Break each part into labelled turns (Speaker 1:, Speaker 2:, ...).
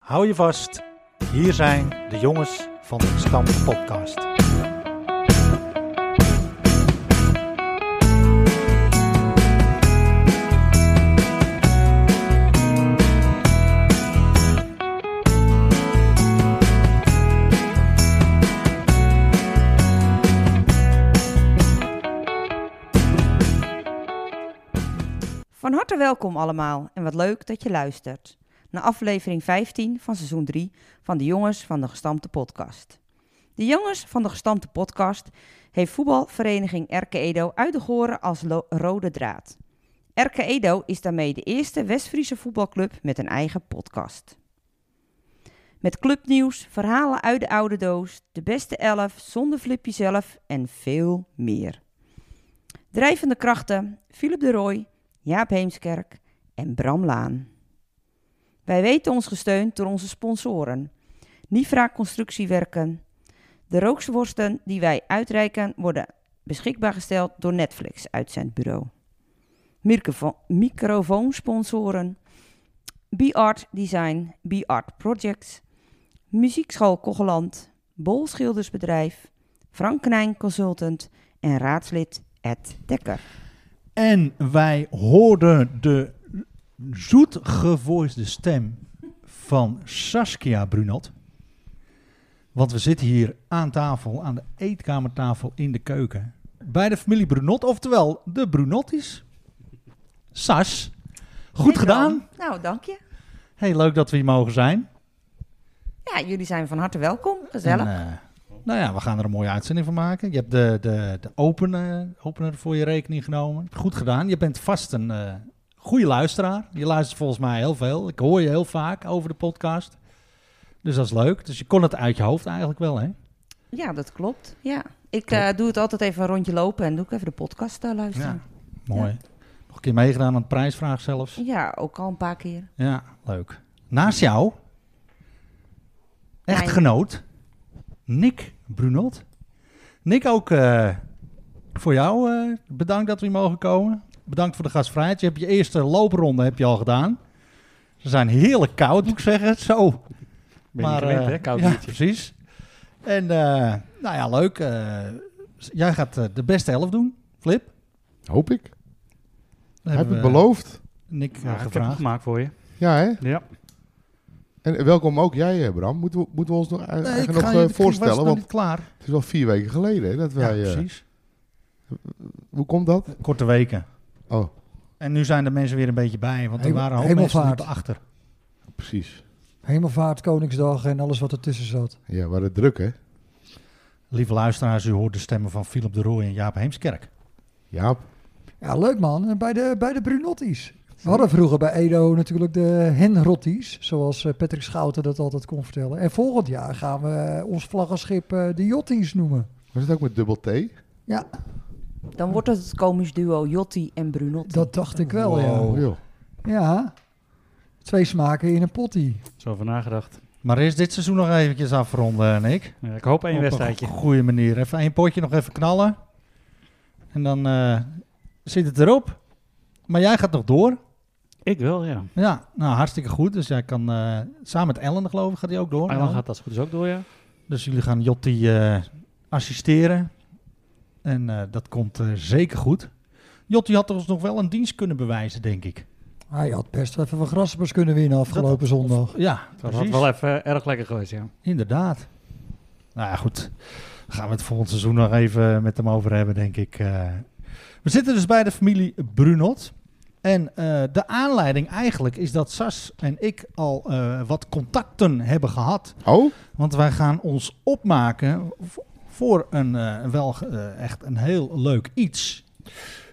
Speaker 1: Hou je vast, hier zijn de jongens van de Stam Podcast.
Speaker 2: Van harte welkom allemaal en wat leuk dat je luistert naar aflevering 15 van seizoen 3 van de Jongens van de Gestampte Podcast. De Jongens van de Gestampte Podcast heeft voetbalvereniging Erke Edo uitgehoren als lo- rode draad. Erke Edo is daarmee de eerste West-Friese voetbalclub met een eigen podcast. Met clubnieuws, verhalen uit de oude doos, de beste elf, zonder flipje zelf en veel meer. Drijvende krachten, Philip de Rooij, Jaap Heemskerk en Bram Laan. Wij weten ons gesteund door onze sponsoren. Nifra Constructiewerken. De rooksworsten die wij uitreiken worden beschikbaar gesteld door Netflix uitzendbureau. Microfo- Microfoonsponsoren. B-Art Design, B-Art Projects. Muziekschool Kogeland, Bol Schildersbedrijf, Frank Knijn Consultant en raadslid Ed Dekker.
Speaker 1: En wij hoorden de zoet gevoiste stem van Saskia Brunot. Want we zitten hier aan tafel, aan de eetkamertafel in de keuken. Bij de familie Brunot, oftewel de Brunottis. Sas, goed
Speaker 2: Hey Bram.
Speaker 1: gedaan.
Speaker 2: Nou, dank je.
Speaker 1: Hey, leuk dat we hier mogen zijn.
Speaker 2: Ja, jullie zijn van harte welkom. Gezellig.
Speaker 1: En, eh, nou ja, we gaan er een mooie uitzending van maken. Je hebt de, de, de open, eh, opener voor je rekening genomen. Heb je Goed gedaan. Je bent vast een eh goede luisteraar. Je luistert volgens mij heel veel. Ik hoor je heel vaak over de podcast. Dus dat is leuk. Dus je kon het uit je hoofd eigenlijk wel, hè?
Speaker 2: Ja, dat klopt. Ja. Ik eh, doe het altijd even een rondje lopen en doe ik even de podcast eh, luisteren.
Speaker 1: Mooi. Nog een keer meegedaan aan de prijsvraag zelfs.
Speaker 2: Ja. ook al een paar keer.
Speaker 1: Ja, leuk. Naast jou, echtgenoot, Nick Brunot. Nick, ook eh, voor jou eh, bedankt dat we hier mogen komen. Bedankt voor de gastvrijheid. Je hebt je eerste loopronde heb je al gedaan. Ze zijn heerlijk koud, moet ik zeggen. Zo.
Speaker 3: Ben je niet gewend,
Speaker 1: eh,
Speaker 3: hè? Koud
Speaker 1: ja,
Speaker 3: biertje.
Speaker 1: precies. En eh, nou ja, leuk. eh, s- jij gaat eh, de beste helft doen, Flip.
Speaker 4: Hoop ik.
Speaker 1: Dat
Speaker 4: Heb
Speaker 1: hebben
Speaker 4: het
Speaker 1: we
Speaker 4: beloofd.
Speaker 1: Nick eh,
Speaker 3: Ja, ik heb hem
Speaker 1: gevraagd.
Speaker 3: gemaakt voor je.
Speaker 4: Ja, hè?
Speaker 3: Ja.
Speaker 4: En welkom ook jij, eh, Bram. Moeten we, moeten we ons nog,
Speaker 1: Nee,
Speaker 4: eigenlijk
Speaker 1: ik
Speaker 4: nog
Speaker 1: ga
Speaker 4: eh,
Speaker 1: je- ik was
Speaker 4: voorstellen?
Speaker 1: nog
Speaker 4: Want
Speaker 1: niet klaar.
Speaker 4: het is wel vier weken geleden hè, dat
Speaker 1: Ja,
Speaker 4: wij... eh,
Speaker 1: precies.
Speaker 4: hoe komt dat?
Speaker 1: Korte weken.
Speaker 4: Oh,
Speaker 1: En nu zijn de mensen weer een beetje bij, want er
Speaker 5: Hemel-
Speaker 1: waren een hoop mensen
Speaker 5: hemelvaart.
Speaker 1: liepen achter.
Speaker 4: precies.
Speaker 5: Hemelvaart, Koningsdag en alles wat ertussen zat.
Speaker 4: Ja, waar het druk, hè?
Speaker 1: Lieve luisteraars, u hoort de stemmen van Philip de Rooij en Jaap Heemskerk.
Speaker 4: Jaap.
Speaker 5: Ja, leuk man. En Bij de, bij de Brunottis. We hadden vroeger bij Edo natuurlijk de Henrotties, zoals eh, Patrick Schouten dat altijd kon vertellen. En volgend jaar gaan we eh, ons vlaggenschip eh, de Jotties noemen.
Speaker 4: Was het ook met dubbel T?
Speaker 5: Ja,
Speaker 2: Dan wordt het het komisch duo Jotti en Brunotti.
Speaker 5: dat dacht ik wel,
Speaker 1: Wow.
Speaker 5: ja.
Speaker 4: Oh, joh.
Speaker 5: Ja, twee smaken in een potty.
Speaker 3: Zo over nagedacht.
Speaker 1: Maar eerst dit seizoen nog eventjes afronden, eh, Nick.
Speaker 3: Ja, ik hoop één
Speaker 1: Op
Speaker 3: wedstrijdje.
Speaker 1: Een go- goede manier. Even één potje nog even knallen. En dan eh, zit het erop. Maar jij gaat nog door.
Speaker 3: Ik wel, ja.
Speaker 1: Ja, nou hartstikke goed. Dus jij kan eh, samen met Ellen, geloof ik, gaat hij ook door.
Speaker 3: Eiland gaat als het goed is ook door, ja.
Speaker 1: Dus jullie gaan Jotti eh, assisteren. En eh, dat komt eh, zeker goed. Jotti had ons nog wel een dienst kunnen bewijzen, denk ik.
Speaker 5: Hij had best even wat graspers kunnen winnen afgelopen
Speaker 1: Dat-
Speaker 5: zondag.
Speaker 1: Ja,
Speaker 3: Dat was wel even erg lekker geweest, ja.
Speaker 1: Inderdaad. Nou ja, goed. Daar gaan we het volgend seizoen nog even met hem over hebben, denk ik. Eh, we zitten dus bij de familie Brunot. En eh, de aanleiding eigenlijk is dat Sas en ik al eh, wat contacten hebben gehad.
Speaker 4: Oh?
Speaker 1: Want wij gaan ons opmaken v- voor een eh, wel eh, echt een heel leuk iets.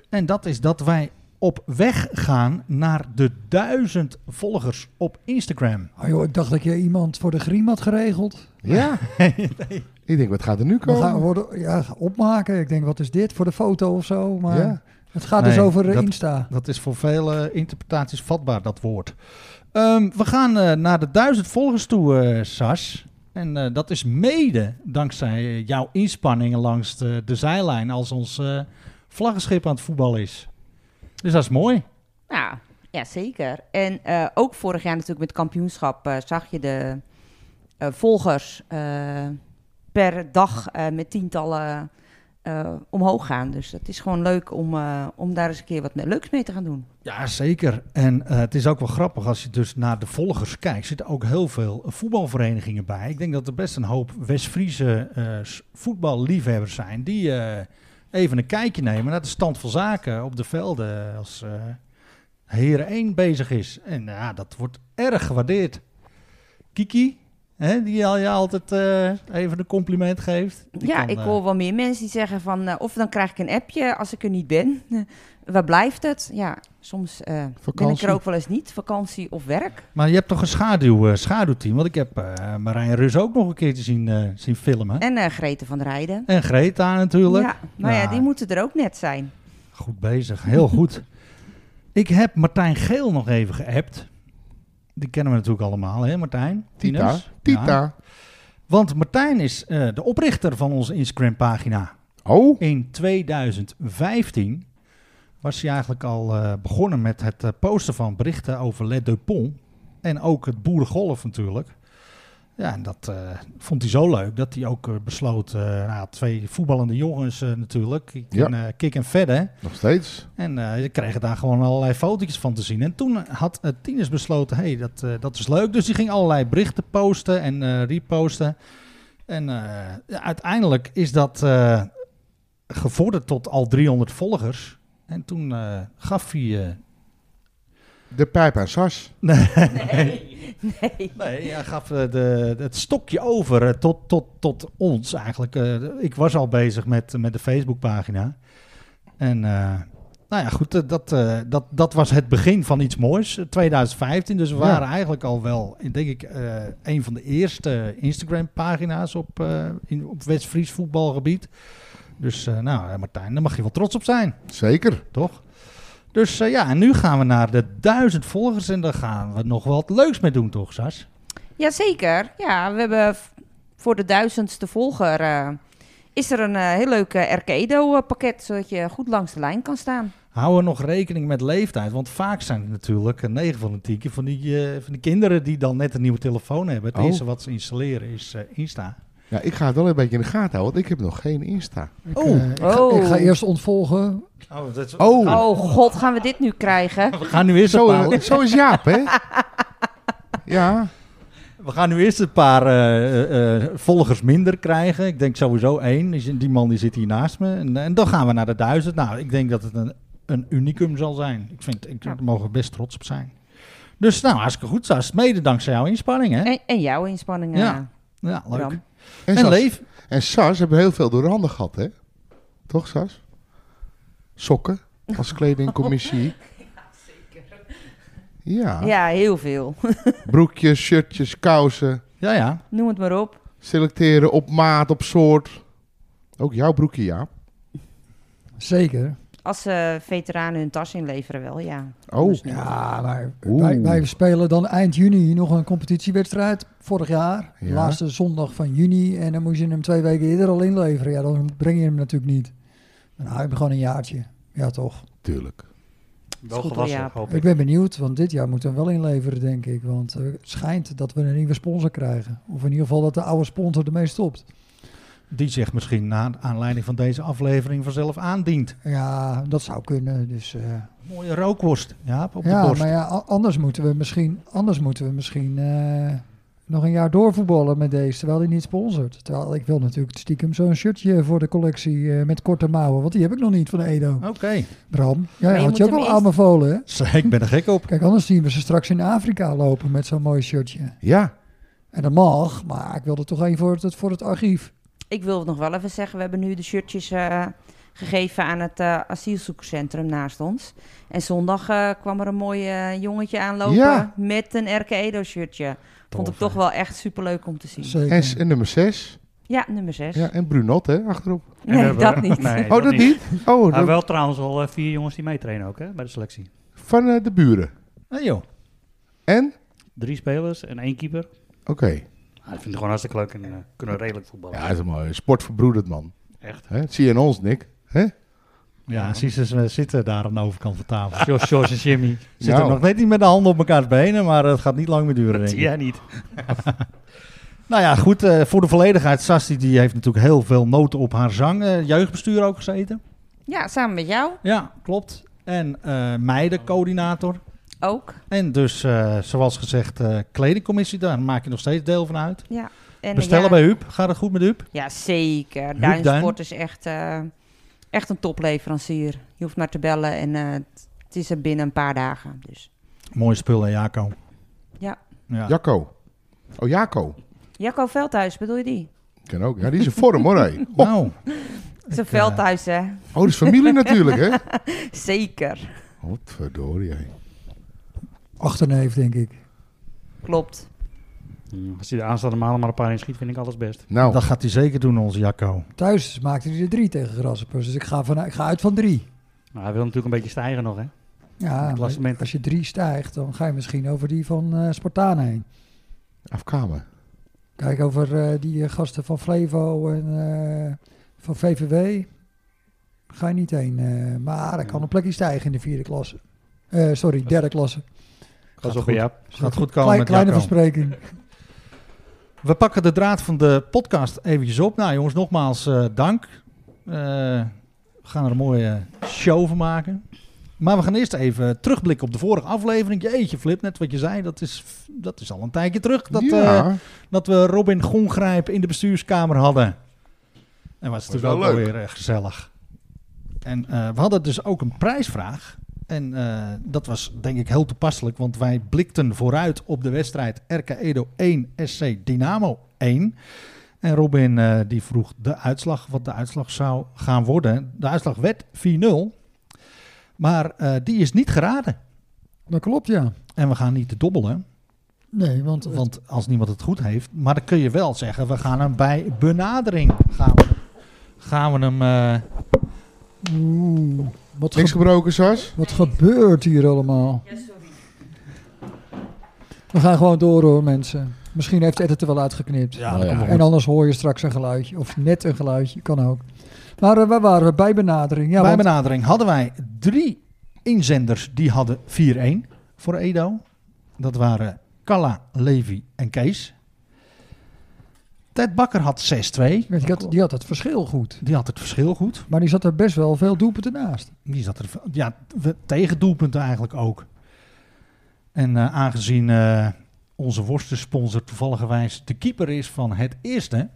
Speaker 1: En dat is dat wij op weg gaan naar de duizend volgers op Instagram.
Speaker 5: Oh joh, ik dacht dat je iemand voor de griem had geregeld.
Speaker 4: Ja. Ik denk, wat gaat er nu
Speaker 5: We gaan,
Speaker 4: komen?
Speaker 5: worden, ja, opmaken. Ik denk, wat is dit voor de foto of zo? Maar
Speaker 4: Ja.
Speaker 5: het gaat
Speaker 1: Nee,
Speaker 5: dus over eh,
Speaker 1: dat-
Speaker 5: Insta.
Speaker 1: Dat is voor vele interpretaties vatbaar, dat woord. Ehm, we gaan eh, naar de duizend volgers toe, eh, Sas. En eh, dat is mede dankzij eh, jouw inspanningen langs de, de zijlijn als ons eh, vlaggenschip aan het voetballen is. Dus dat is mooi.
Speaker 2: Ja, Nou, Ja, zeker. En eh, ook vorig jaar natuurlijk met kampioenschap eh, zag je de eh, volgers eh, per dag eh, met tientallen eh, omhoog gaan. Dus dat is gewoon leuk om, eh, om daar eens een keer wat me- leuks mee te gaan doen.
Speaker 1: Ja, zeker. En eh, het is ook wel grappig als je dus naar de volgers kijkt. Zitten ook heel veel eh, voetbalverenigingen bij. Ik denk dat er best een hoop West-Friese eh, s- voetballiefhebbers zijn. die eh, even een kijkje nemen naar de stand van zaken op de velden. als eh Heren 1 bezig is. En eh, ja, dat wordt erg gewaardeerd. Kiki, hè, die al je altijd eh, even een compliment geeft. Die
Speaker 2: ja,
Speaker 1: kan,
Speaker 2: ik
Speaker 1: eh,
Speaker 2: hoor wel meer mensen die zeggen van... eh, of dan krijg ik een appje als ik er niet ben. Eh, waar blijft het? Ja, soms eh, ben ik
Speaker 4: Vakantie.
Speaker 2: er ook wel eens niet. Vakantie of werk.
Speaker 1: Maar je hebt toch een schaduw, eh, schaduwteam? Want ik heb eh Marijn Rus ook nog een keer te zien, eh, zien filmen.
Speaker 2: En eh Grete van der Rijden.
Speaker 1: En Greta natuurlijk.
Speaker 2: Ja, maar ja,
Speaker 1: Ja.
Speaker 2: die moeten er ook net zijn.
Speaker 1: Goed bezig, heel goed. ik heb Martijn Geel nog even geappt. Die kennen we natuurlijk allemaal, hè Martijn?
Speaker 4: Tita.
Speaker 1: Tieners? Ja.
Speaker 4: Tita.
Speaker 1: Want Martijn is eh, de oprichter van onze Instagram-pagina.
Speaker 4: Oh,
Speaker 1: In 2015 was hij eigenlijk al eh, begonnen met het eh, posten van berichten over Les Deux Ponts. En ook het boerengolf natuurlijk. Ja, en dat eh, vond hij zo leuk dat hij ook eh, besloot, eh, nou, twee voetballende jongens eh, natuurlijk, Kik
Speaker 4: Ja.
Speaker 1: en, eh, Kik en Fedde.
Speaker 4: nog steeds.
Speaker 1: En eh je kreeg daar gewoon allerlei fotootjes van te zien. En toen had eh, Tinus besloten, hey, dat, eh, dat is leuk. Dus die ging allerlei berichten posten en eh, reposten. En eh, ja, uiteindelijk is dat eh, gevorderd tot al 300 volgers. En toen eh, gaf hij... eh,
Speaker 4: De pijp aan Sas.
Speaker 2: Nee. nee.
Speaker 1: nee, hij gaf eh, de, het stokje over eh, tot, tot, tot ons eigenlijk. Eh, ik was al bezig met, met de Facebookpagina. En eh, nou ja, goed, eh, dat, eh, dat, dat was het begin van iets moois. eh, 2015, dus we
Speaker 4: Ja.
Speaker 1: waren eigenlijk al wel, eh, denk ik, eh, een van de eerste Instagram-pagina's op, eh, in- op West-Fries voetbalgebied. Dus eh, nou, eh, Martijn, daar mag je wel trots op zijn
Speaker 4: Zeker.
Speaker 1: toch? Dus eh, ja, en nu gaan we naar de duizend volgers en daar gaan we nog wat leuks mee doen, toch, Sas?
Speaker 2: Jazeker. Ja, we hebben v- voor de duizendste volger... eh, is er een eh, heel leuk eh, Arcado-pakket, zodat je goed langs de lijn kan staan.
Speaker 1: Hou er nog rekening met leeftijd, want vaak zijn het natuurlijk eh, 9 van de 10 keer van die, eh, van die kinderen die dan net een nieuwe telefoon hebben. Het
Speaker 4: Oh.
Speaker 1: eerste wat ze installeren is eh, Insta.
Speaker 4: Ja, ik ga het wel een beetje in de gaten houden, want ik heb nog geen Insta.
Speaker 5: Ik,
Speaker 1: Oh.
Speaker 5: eh, ik, ga,
Speaker 2: Oh.
Speaker 5: ik ga eerst ontvolgen.
Speaker 1: Oh, dat is...
Speaker 4: Oh,
Speaker 2: Oh god, gaan we dit nu krijgen?
Speaker 1: We gaan nu eerst een paar,
Speaker 4: zo, eh. zo is Jaap, hè? Ja,
Speaker 1: we gaan nu eerst een paar eh, eh, eh, volgers minder krijgen. Ik denk sowieso één. Dus Die man die zit hier naast me. En, eh, en dan gaan we naar de duizend. Nou, ik denk dat het een, een unicum zal zijn. Ik vind, ik, daar mogen we best trots op zijn. Dus nou, hartstikke goed, Sas. Mede dankzij jouw inspanning, hè?
Speaker 2: En, en jouw inspanningen, eh,
Speaker 1: Ja, Ja, leuk.
Speaker 2: Bram.
Speaker 4: en,
Speaker 1: En
Speaker 4: Sas.
Speaker 1: Leef.
Speaker 4: En Sas hebben heel veel door de handen gehad, hè? Toch, Sas? Sokken als kledingcommissie. Ja,
Speaker 2: Ja, heel veel.
Speaker 4: broekjes, shirtjes, kousen.
Speaker 1: Ja, ja.
Speaker 2: Noem het maar op.
Speaker 4: Selecteren op maat, op soort. Ook jouw broekje, Jaap.
Speaker 5: Zeker.
Speaker 2: Als eh, veteranen hun tas inleveren wel, ja.
Speaker 4: Oh,
Speaker 5: Ja, maar
Speaker 4: Oeh.
Speaker 5: wij, wij spelen dan eind juni nog een competitiewedstrijd. Vorig jaar, de
Speaker 4: Ja.
Speaker 5: laatste zondag van juni. En dan moest je hem twee weken eerder al inleveren. Ja, dan breng je hem natuurlijk niet. Dan hou je hem gewoon een jaartje. Ja, toch.
Speaker 4: tuurlijk.
Speaker 3: Wel
Speaker 2: goed,
Speaker 3: gewassen,
Speaker 2: Jaap.
Speaker 3: hoop
Speaker 5: Ik
Speaker 3: ik.
Speaker 5: ben benieuwd, want dit jaar moeten we hem wel inleveren, denk ik. Want eh, het schijnt dat we een nieuwe sponsor krijgen. Of in ieder geval dat de oude sponsor ermee stopt.
Speaker 1: Die zich misschien na aanleiding van deze aflevering vanzelf aandient.
Speaker 5: Ja, dat zou kunnen. Dus, eh,
Speaker 1: Mooie rookworst, ja, op de
Speaker 5: ja,
Speaker 1: borst.
Speaker 5: maar ja, a- anders moeten we misschien, anders moeten we misschien eh, nog een jaar doorvoetballen met deze, terwijl hij niet sponsort. Terwijl ik wil natuurlijk stiekem zo'n shirtje voor de collectie eh, met korte mouwen, want die heb ik nog niet van Edo.
Speaker 1: Oké,
Speaker 5: Bram,
Speaker 2: Maar
Speaker 5: jij
Speaker 2: je
Speaker 5: had
Speaker 2: moet
Speaker 5: je ook
Speaker 2: hem
Speaker 5: al
Speaker 2: eerst-
Speaker 5: aanbevolen, hè?
Speaker 1: ik ben er gek op.
Speaker 5: Kijk, anders zien we ze straks in Afrika lopen met zo'n mooi shirtje.
Speaker 4: Ja,
Speaker 5: En dat mag, maar ik wilde toch één voor het, voor het archief.
Speaker 2: Ik wil nog wel even zeggen, we hebben nu de shirtjes eh, gegeven aan het eh asielzoekerscentrum naast ons. En zondag eh, kwam er een mooi eh, jongetje aanlopen
Speaker 4: Ja.
Speaker 2: met een RK Edo shirtje. Vond ik
Speaker 3: Tof,
Speaker 2: toch
Speaker 3: hè?
Speaker 2: wel echt superleuk om te zien.
Speaker 5: Zeker.
Speaker 4: en, s- en nummer 6.
Speaker 2: Ja, nummer 6.
Speaker 4: Ja, en Brunot, hè, achterop.
Speaker 3: En we
Speaker 2: Nee,
Speaker 3: hebben-
Speaker 2: dat niet.
Speaker 3: Nee,
Speaker 4: Oh, dat niet? Oh,
Speaker 3: Maar
Speaker 4: dat-
Speaker 3: Ah, wel trouwens al eh, vier jongens die meetrainen ook, hè, bij de selectie.
Speaker 4: van eh, de buren.
Speaker 1: Hey joh.
Speaker 4: En?
Speaker 3: Drie spelers en één keeper.
Speaker 4: Oké.
Speaker 3: Ah, ik vind het gewoon hartstikke leuk en eh, kunnen redelijk voetballen.
Speaker 4: Ja, dat is mooi. Sport verbroedert, man.
Speaker 3: Echt.
Speaker 4: Hè? Dat zie je in ons, Nick. Hè?
Speaker 1: Ja, Sisters eh, zitten daar aan de overkant van tafel.
Speaker 3: George, George en Jimmy.
Speaker 1: Zitten
Speaker 4: Nou.
Speaker 1: nog net niet met de handen op elkaars benen, maar het gaat niet lang meer duren, denk ik.
Speaker 3: Ja, niet.
Speaker 1: Nou ja, goed, eh, voor de volledigheid. Sasti die heeft natuurlijk heel veel noten op haar zang. eh, jeugdbestuur ook gezeten.
Speaker 2: Ja, samen met jou
Speaker 1: Ja, klopt. En eh, meidencoördinator.
Speaker 2: ook.
Speaker 1: En dus, eh, zoals gezegd, eh, kledingcommissie, daar maak je nog steeds deel van uit.
Speaker 2: Ja. En eh,
Speaker 1: Bestellen
Speaker 2: ja,
Speaker 1: bij Huub. Gaat het goed met Huub?
Speaker 2: Ja, zeker.
Speaker 1: Duin.
Speaker 2: Duinsport is echt, eh, echt een topleverancier. Je hoeft maar te bellen en eh, het- het is er binnen een paar dagen. Dus
Speaker 1: Mooi spul, hè, Jaco?
Speaker 2: Ja.
Speaker 1: ja.
Speaker 4: Jacco. Oh, Jaco.
Speaker 2: Jacco Veldhuis, bedoel je die?
Speaker 4: Ken ook. Ja, die is een vorm hoor. hé. Oh,
Speaker 1: Nou,
Speaker 2: Het is een
Speaker 1: Ik, eh,
Speaker 2: Veldhuis, hè?
Speaker 4: oh, dat is familie natuurlijk, hè?
Speaker 2: Zeker.
Speaker 4: Wat verdorie. hé.
Speaker 5: Achterneef, denk ik.
Speaker 2: Klopt.
Speaker 3: Mm. Als hij de aanstaande maanden maar een paar in schiet, vind ik alles best.
Speaker 4: Nou,
Speaker 1: dat gaat hij zeker doen, onze Jacco.
Speaker 5: Thuis maakte hij er drie tegen Grasshoppers, dus ik ga, van, ik ga uit van drie.
Speaker 3: Nou, hij wil natuurlijk een beetje stijgen nog, hè?
Speaker 5: Ja,
Speaker 3: Het klassement.
Speaker 5: als je drie stijgt, dan ga je misschien over die van eh Spartaan heen.
Speaker 4: afkamer.
Speaker 5: Kijk, over eh, die eh, gasten van Flevo en eh, van VVW ga je niet heen. eh, maar er kan een plekje stijgen in de vierde klasse. Eh, sorry, derde klasse.
Speaker 3: Pas op,
Speaker 1: goed.
Speaker 3: ja.
Speaker 1: Gaat goed komen
Speaker 5: Klein-
Speaker 1: met
Speaker 5: kleine
Speaker 1: Jacco.
Speaker 5: verspreking.
Speaker 1: We pakken de draad van de podcast eventjes op. Nou jongens, nogmaals eh, dank. Eh, we gaan er een mooie show van maken. Maar we gaan eerst even terugblikken op de vorige aflevering. Jeetje Flip, net wat je zei, dat is, dat is al een tijdje terug. Dat, eh,
Speaker 4: ja,
Speaker 1: dat we Robin Gongrijp in de bestuurskamer hadden. En was
Speaker 4: Was
Speaker 1: natuurlijk ook
Speaker 4: wel
Speaker 1: wel
Speaker 4: leuk.
Speaker 1: weer eh, gezellig. En eh, we hadden dus ook een prijsvraag. En eh, dat was denk ik heel toepasselijk, want wij blikten vooruit op de wedstrijd RK Edo 1 SC Dynamo 1. En Robin eh, die vroeg de uitslag, wat de uitslag zou gaan worden. De uitslag werd 4-0, maar eh, die is niet geraden.
Speaker 5: Dat klopt, ja.
Speaker 1: En we gaan niet dobbelen.
Speaker 5: Nee, want, het-
Speaker 1: Want als niemand het goed heeft, maar dan kun je wel zeggen, we gaan hem bij benadering gaan we, gaan we hem. eh,
Speaker 5: Oeh, wat,
Speaker 4: niks
Speaker 5: ge-
Speaker 4: gebroken, Sas.
Speaker 5: wat gebeurt hier allemaal? We gaan gewoon door hoor, mensen. Misschien heeft Ed het er wel uitgeknipt.
Speaker 1: ja,
Speaker 4: Nou
Speaker 1: dat
Speaker 4: ja.
Speaker 1: komt wel
Speaker 5: En
Speaker 1: goed.
Speaker 5: anders hoor je straks een geluidje. Of net een geluidje, kan ook. Maar eh, waar waren we? Bij benadering. Ja,
Speaker 1: bij
Speaker 5: want-
Speaker 1: benadering hadden wij drie inzenders die hadden 4-1 voor Edo. Dat waren Kalla, Levi en Kees. Ted Bakker had 6-2.
Speaker 5: Want die had, die had het verschil goed.
Speaker 1: Die had het verschil goed.
Speaker 5: Maar die zat er best wel veel doelpunten naast.
Speaker 1: Die zat er ja, we- tegen doelpunten eigenlijk ook. En eh, aangezien eh, onze worstensponsor toevalligerwijs de keeper is van het eerste,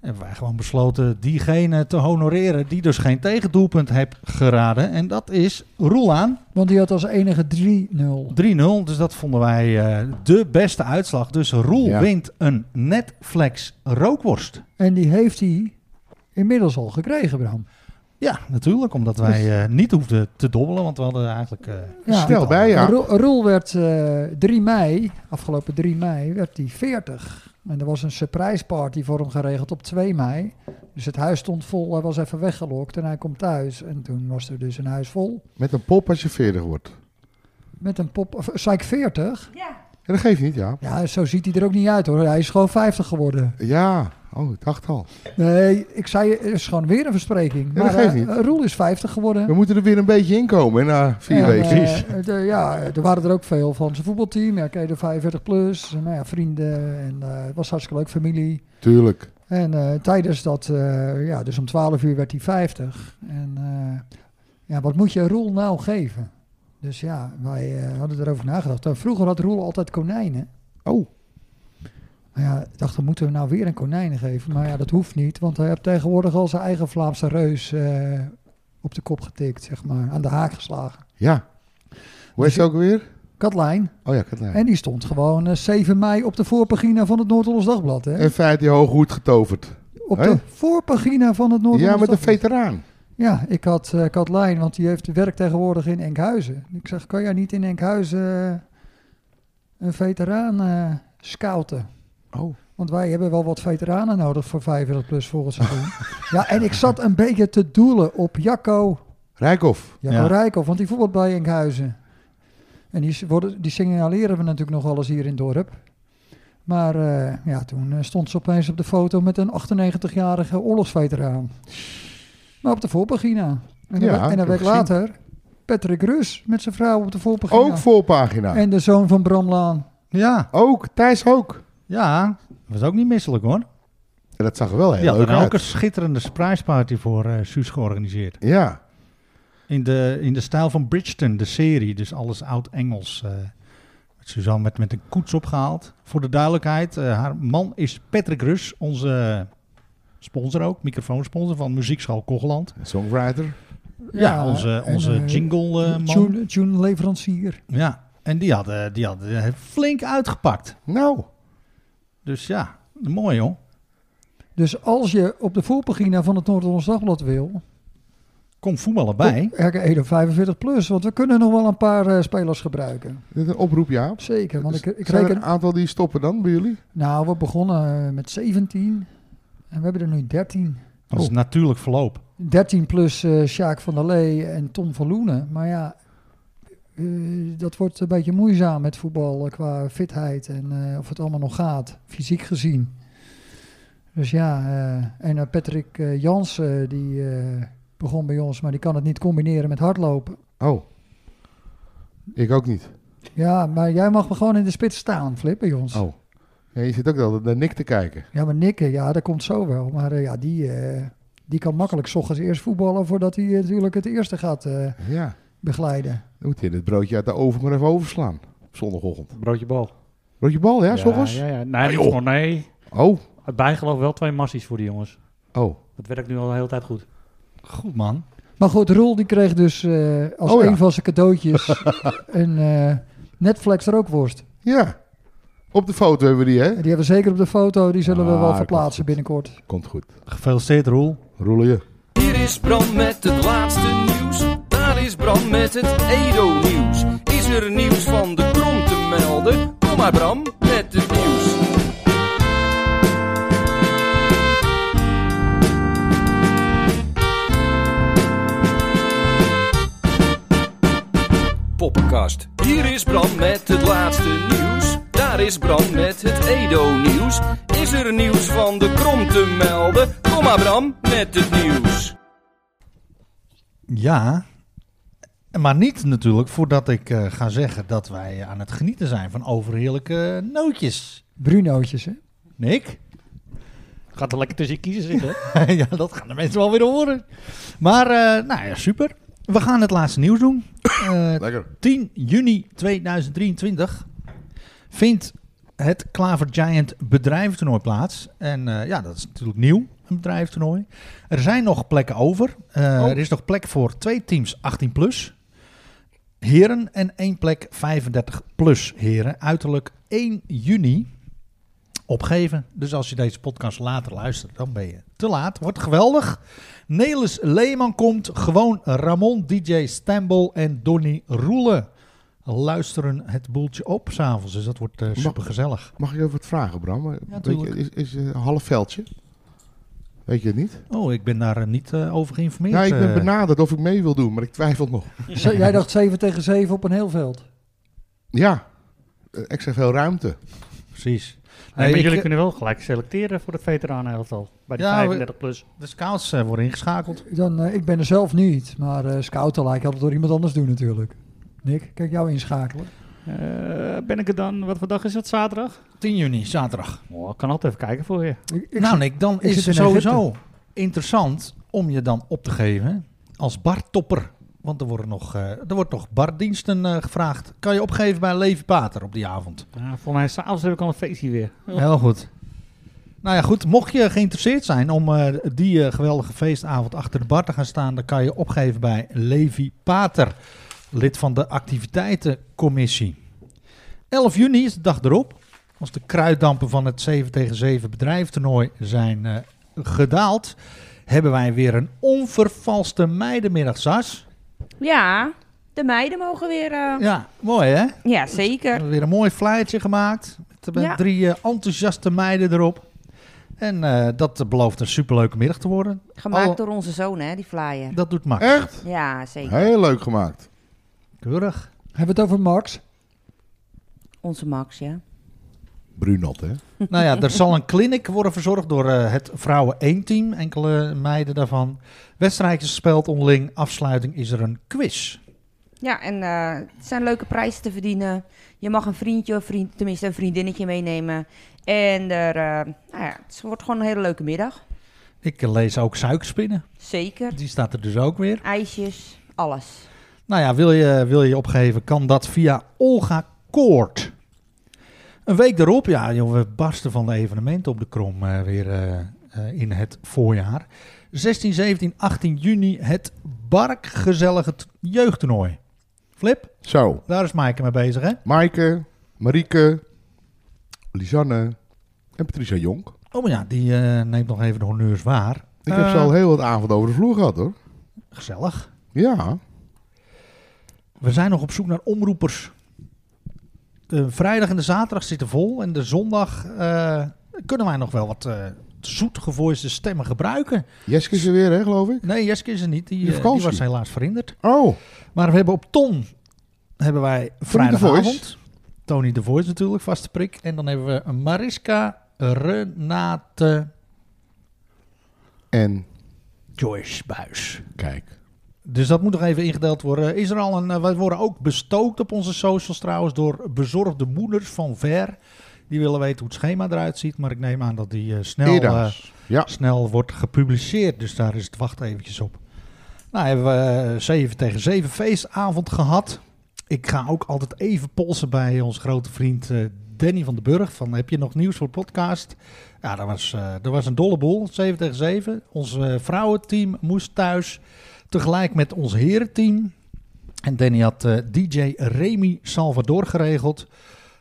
Speaker 1: hebben wij gewoon besloten diegene te honoreren die dus geen tegendoelpunt heeft geraden. En dat is Roelaan
Speaker 5: Want die had als enige 3-0.
Speaker 1: 3-0. Dus dat vonden wij eh, de beste uitslag. Dus Roel
Speaker 4: Ja.
Speaker 1: wint een Netflix rookworst.
Speaker 5: En die heeft hij inmiddels al gekregen, Bram.
Speaker 1: Ja, natuurlijk, omdat wij eh, niet hoefden te dobbelen, want we hadden eigenlijk... eh,
Speaker 5: Ja.
Speaker 4: Snel bij, ja.
Speaker 5: Roel, Roel werd eh 3 mei, afgelopen 3 mei, werd hij 40. En er was een surprise party voor hem geregeld op 2 mei. Dus het huis stond vol, hij was even weggelokt en hij komt thuis. En toen was er dus een huis vol
Speaker 4: Met een pop als je 40 wordt.
Speaker 5: met een pop... Of, zei ik 40?
Speaker 2: Ja.
Speaker 4: En dat geeft niet, ja.
Speaker 5: Ja, zo ziet hij er ook niet uit hoor. Hij is gewoon 50 geworden.
Speaker 4: Ja, oh, ik dacht al.
Speaker 5: Nee, ik zei, het is gewoon weer een verspreking.
Speaker 4: Ja,
Speaker 5: Maar
Speaker 4: dat geeft
Speaker 5: eh,
Speaker 4: niet.
Speaker 5: Roel is 50 geworden.
Speaker 4: We moeten er weer een beetje inkomen hè, na vier
Speaker 5: En,
Speaker 4: weken.
Speaker 5: eh, de- ja, er waren er ook veel van zijn voetbalteam. Ja, oké, de 45 plus. Nou ja, vrienden. En eh, het was hartstikke leuk, familie.
Speaker 4: Tuurlijk.
Speaker 5: En eh, tijdens dat, eh, ja, dus om 12 uur werd hij 50. En eh, ja, wat moet je Roel nou geven? Dus ja, wij eh, hadden erover nagedacht. Eh, Vroeger had Roel altijd konijnen.
Speaker 4: Oh,
Speaker 5: Maar ja, ik dacht, dan moeten we nou weer een konijnen geven. Maar ja, dat hoeft niet, want hij heeft tegenwoordig al zijn eigen Vlaamse reus eh, op de kop getikt, zeg maar. Aan de haak geslagen.
Speaker 4: ja. Hoe is het ook weer?
Speaker 5: Katlijn,
Speaker 4: Oh ja, Katlijn.
Speaker 5: En die stond gewoon eh, 7 mei op de voorpagina van het Noord-Hollands Dagblad. Hè?
Speaker 4: En feit die hooghoed getoverd.
Speaker 5: Op
Speaker 4: hè?
Speaker 5: de voorpagina van het Noord-Hollands
Speaker 4: Ja, met een
Speaker 5: Dagblad.
Speaker 4: veteraan.
Speaker 5: Ja, ik had eh Katlijn, want die heeft werk tegenwoordig in Enkhuizen. Ik zeg, kan jij niet in Enkhuizen eh, een veteraan eh, scouten?
Speaker 4: Oh.
Speaker 5: Want wij hebben wel wat veteranen nodig voor 500 plus volgend seizoen. ja, en ik zat een beetje te doelen op Jacco,
Speaker 4: Rijkoff.
Speaker 5: Jacco
Speaker 1: Ja.
Speaker 5: Rijkoff, want die voetbalt bij Enkhuizen. En die, s- worden, die signaleren we natuurlijk nog alles hier in het dorp. Maar eh, ja, toen eh, stond ze opeens op de foto met een 98-jarige oorlogsveteraan. Maar op de voorpagina. En
Speaker 4: Ja,
Speaker 5: een, we- en
Speaker 4: ik
Speaker 5: een
Speaker 4: heb
Speaker 5: week
Speaker 4: gezien.
Speaker 5: later Patrick Rus met zijn vrouw op de voorpagina.
Speaker 4: Ook voorpagina.
Speaker 5: En de zoon van Bram Laan.
Speaker 1: Ja,
Speaker 4: Ook, Thijs ook.
Speaker 1: ja. Was ook niet misselijk hoor.
Speaker 4: En dat zag er wel heel
Speaker 1: Ja,
Speaker 4: leuk
Speaker 1: dan
Speaker 4: uit.
Speaker 1: ook een schitterende surprise party voor eh Suus georganiseerd.
Speaker 4: Ja,
Speaker 1: In de, in de stijl van Bridgeton, de serie. Dus alles oud-Engels. eh Suzanne werd met een koets opgehaald. Voor de duidelijkheid, eh, haar man is Patrick Rus, onze sponsor ook. Microfoonsponsor van Muziekschool Kogeland.
Speaker 4: songwriter.
Speaker 1: Ja, onze,
Speaker 5: en,
Speaker 1: onze
Speaker 5: eh,
Speaker 1: jingle eh, man.
Speaker 5: Tune, tune leverancier.
Speaker 1: Ja, en die had, eh, die had eh, flink uitgepakt.
Speaker 4: Nou,
Speaker 1: Dus ja, mooi hoor.
Speaker 5: Dus als je op de voorpagina van het Noord-Hollands Dagblad wil,
Speaker 1: Kom voetballen bij.
Speaker 5: op RKEDO 45 plus, want we kunnen nog wel een paar eh, spelers gebruiken.
Speaker 4: dit is een oproep, ja.
Speaker 5: Zeker, want ik, ik
Speaker 4: Dus Zijn er
Speaker 5: reken...
Speaker 4: een aantal die stoppen dan bij jullie?
Speaker 5: Nou, we begonnen eh, met 17 en we hebben er nu 13.
Speaker 1: Dat is
Speaker 4: Oh.
Speaker 1: natuurlijk verloop.
Speaker 5: 13 plus eh Sjaak van der Lee en Tom van Loenen. Maar ja, eh, dat wordt een beetje moeizaam met voetbal eh, qua fitheid en eh, of het allemaal nog gaat, fysiek gezien. Dus ja, eh, en eh, Patrick eh, Jansen, die eh, begon bij ons, maar die kan het niet combineren met hardlopen.
Speaker 4: Oh. Ik ook niet.
Speaker 5: Ja, maar jij mag gewoon in de spits staan, Flip, bij ons.
Speaker 4: Oh. Ja, je zit ook altijd naar Nick te kijken.
Speaker 5: Ja, maar Nikke, ja, dat komt zo wel. Maar eh, ja, die, eh, die kan makkelijk 's ochtends eerst voetballen voordat hij eh, natuurlijk het eerste gaat eh,
Speaker 4: Ja.
Speaker 5: begeleiden.
Speaker 4: Dan moet je dit broodje uit de oven maar even overslaan. Op zondagochtend.
Speaker 3: Broodje bal.
Speaker 4: Broodje bal, ja, s'ochtends?
Speaker 3: Ja, ja. Eh, Nee,
Speaker 4: Ah, joh.
Speaker 3: gewoon, nee.
Speaker 4: Oh.
Speaker 3: Het bijgeloof wel twee massies voor die jongens.
Speaker 4: Oh.
Speaker 3: Dat werkt nu al de hele tijd goed.
Speaker 1: Goed man.
Speaker 5: Maar goed, Roel die kreeg dus eh, als
Speaker 4: Oh ja.
Speaker 5: een van zijn cadeautjes een eh, Netflix rookworst.
Speaker 4: Ja. Op de foto hebben we die, hè?
Speaker 5: Die hebben we zeker op de foto, die zullen we
Speaker 4: Ah,
Speaker 5: wel
Speaker 4: dat komt
Speaker 5: verplaatsen
Speaker 4: goed.
Speaker 5: binnenkort.
Speaker 4: Komt goed.
Speaker 1: Gefeliciteerd Roel.
Speaker 4: Roelen je.
Speaker 6: Hier is Bram met het laatste nieuws. Daar is Bram met het Edo-nieuws. Is er nieuws van de krom te melden? Kom maar Bram met het nieuws. Poppenkast. Hier is Bram met het laatste nieuws. Daar is Bram met het Edo-nieuws. Is er nieuws van de krom te melden? Kom maar Bram met het nieuws.
Speaker 1: Ja, maar niet natuurlijk voordat ik eh, ga zeggen dat wij aan het genieten zijn van overheerlijke nootjes.
Speaker 5: Brunootjes, hè?
Speaker 1: Nick?
Speaker 3: Gaat er lekker tussen je kiezen zitten.
Speaker 1: ja, dat gaan de mensen wel weer horen. Maar, eh, nou ja, super. We gaan het laatste nieuws doen. Eh,
Speaker 4: Lekker.
Speaker 1: 10 juni 2023 vindt het Klaver Giant bedrijventoernooi plaats. En eh, ja, dat is natuurlijk nieuw, een bedrijventoernooi. Er zijn nog plekken over. Eh,
Speaker 4: Oh.
Speaker 1: Er is nog plek voor twee teams 18 plus. Heren en één plek 35 plus heren. Uiterlijk 1 juni opgeven. Dus als je deze podcast later luistert, dan ben je te laat. Wordt geweldig. Nelis Leeman komt. Gewoon Ramon, DJ Stambol en Donny Roelen luisteren het boeltje op s'avonds. Dus dat wordt super supergezellig.
Speaker 4: Mag ik even wat vragen, Bram? Weet je,
Speaker 1: tuurlijk.
Speaker 4: is is eh, een half veldje? Weet je het niet?
Speaker 1: Oh, ik ben daar eh, niet eh, over geïnformeerd.
Speaker 4: Ja, ik ben
Speaker 1: eh.
Speaker 4: benaderd of ik mee wil doen, maar ik twijfel nog.
Speaker 5: Ze- Jij dacht 7 tegen 7 op een heel veld.
Speaker 4: Ja. Eh, Extra veel ruimte.
Speaker 1: Precies.
Speaker 3: Nee,
Speaker 1: Nee,
Speaker 3: maar
Speaker 1: ik-
Speaker 3: jullie kunnen wel gelijk selecteren voor het veteranen-elftal. Bij die
Speaker 1: Ja, we-
Speaker 3: 35 plus.
Speaker 1: De scouts eh, worden ingeschakeld.
Speaker 5: Dan, eh, ik ben er zelf niet, maar eh, scouten laat ik altijd door iemand anders doen natuurlijk. Nick, kijk jou inschakelen.
Speaker 3: Eh, ben ik het dan? Wat voor dag is het? Zaterdag?
Speaker 1: 10 juni, zaterdag.
Speaker 3: Oh, ik kan altijd even kijken voor je.
Speaker 5: Ik, ik
Speaker 1: nou,
Speaker 5: zit-
Speaker 1: Nick, dan
Speaker 5: ik
Speaker 1: is
Speaker 5: zit
Speaker 1: het
Speaker 5: in
Speaker 1: sowieso interessant om je dan op te geven als bartopper. Want er, worden nog, eh, er wordt nog bardiensten eh, gevraagd. Kan je opgeven bij Levi Pater op die avond?
Speaker 3: Nou, voor mij s'avonds heb ik al een feestje weer.
Speaker 1: Heel goed. Nou ja, goed. Mocht je geïnteresseerd zijn om eh, die eh, geweldige feestavond achter de bar te gaan staan, dan kan je opgeven bij Levi Pater, lid van de activiteitencommissie. 11 juni is de dag erop. Als de kruiddampen van het 7 tegen 7 bedrijventoernooi zijn eh, gedaald, hebben wij weer een onvervalste meidenmiddag, Sas.
Speaker 2: Ja, de meiden mogen weer... eh, ja.
Speaker 1: Ja, mooi hè? We
Speaker 2: zeker.
Speaker 1: hebben weer een mooi flyertje gemaakt. Met, met
Speaker 2: Ja.
Speaker 1: drie eh, enthousiaste meiden erop. En eh, dat belooft een superleuke middag te worden.
Speaker 2: Gemaakt
Speaker 1: Oh.
Speaker 2: door onze zoon, hè, die flyer.
Speaker 1: Dat doet Max.
Speaker 4: Echt?
Speaker 2: Ja, zeker.
Speaker 4: Heel leuk gemaakt.
Speaker 1: Keurig.
Speaker 5: Hebben we het over Max?
Speaker 2: Onze Max, ja.
Speaker 4: Brunot, hè?
Speaker 1: Nou ja, er zal een clinic worden verzorgd door eh, het vrouwen 1 team, enkele meiden daarvan. Wedstrijdjes gespeeld onderling, afsluiting is er een quiz.
Speaker 2: Ja, en eh, het zijn leuke prijzen te verdienen. Je mag een vriendje of vriend, tenminste een vriendinnetje meenemen. En er, eh, nou ja, het wordt gewoon een hele leuke middag.
Speaker 1: Ik eh, lees ook suikerspinnen,
Speaker 2: Zeker.
Speaker 1: die staat er dus ook weer.
Speaker 2: IJsjes, alles.
Speaker 1: Nou ja, wil je wil je opgeven, kan dat via Olga Koort. Een week daarop, ja, joh, we barsten van de evenementen op de krom eh, weer eh, eh, in het voorjaar. 16, 17, 18 juni het Barkgezellige t- jeugdtoernooi. Flip,
Speaker 4: Zo,
Speaker 1: daar is Maaike mee bezig, hè?
Speaker 4: Maaike, Marieke, Lisanne en Patricia Jonk.
Speaker 1: Oh, maar ja, die eh, neemt nog even de honneurs waar.
Speaker 4: Ik heb ze
Speaker 1: Eh,
Speaker 4: al heel wat avond over de vloer gehad, hoor.
Speaker 1: Gezellig.
Speaker 4: Ja,
Speaker 1: We zijn nog op zoek naar omroepers. De vrijdag en de zaterdag zitten vol. En de zondag eh, kunnen wij nog wel wat eh zoetgevoiste stemmen gebruiken.
Speaker 4: Jeske is er weer, hè, geloof ik?
Speaker 1: Nee, Jeske is er niet. Die,
Speaker 4: Die
Speaker 1: eh, die
Speaker 4: vakantie.
Speaker 1: was helaas verhinderd.
Speaker 4: Oh,
Speaker 1: Maar we hebben op Ton hebben wij vrijdagavond. Tony de Voice natuurlijk, vaste prik. En dan hebben we Mariska Renate
Speaker 4: en
Speaker 1: Joyce Buis.
Speaker 4: kijk.
Speaker 1: Dus dat moet nog even ingedeeld worden. Is er al een. eh, wij worden ook bestookt op onze socials trouwens door bezorgde moeders van ver. Die willen weten hoe het schema eruit ziet. Maar ik neem aan dat die eh, snel, eh,
Speaker 4: Eda's. Ja,
Speaker 1: snel wordt gepubliceerd. Dus daar is het wacht eventjes op. Nou hebben we eh, 7 tegen 7 feestavond gehad. Ik ga ook altijd even polsen bij ons grote vriend eh, Danny van den Burg. Van heb je nog nieuws voor podcast? Ja, dat was, eh, dat was een dolle boel. 7 tegen 7. Ons eh, vrouwenteam moest thuis. Tegelijk met ons herenteam. En Danny had eh, DJ Remy Salvador geregeld.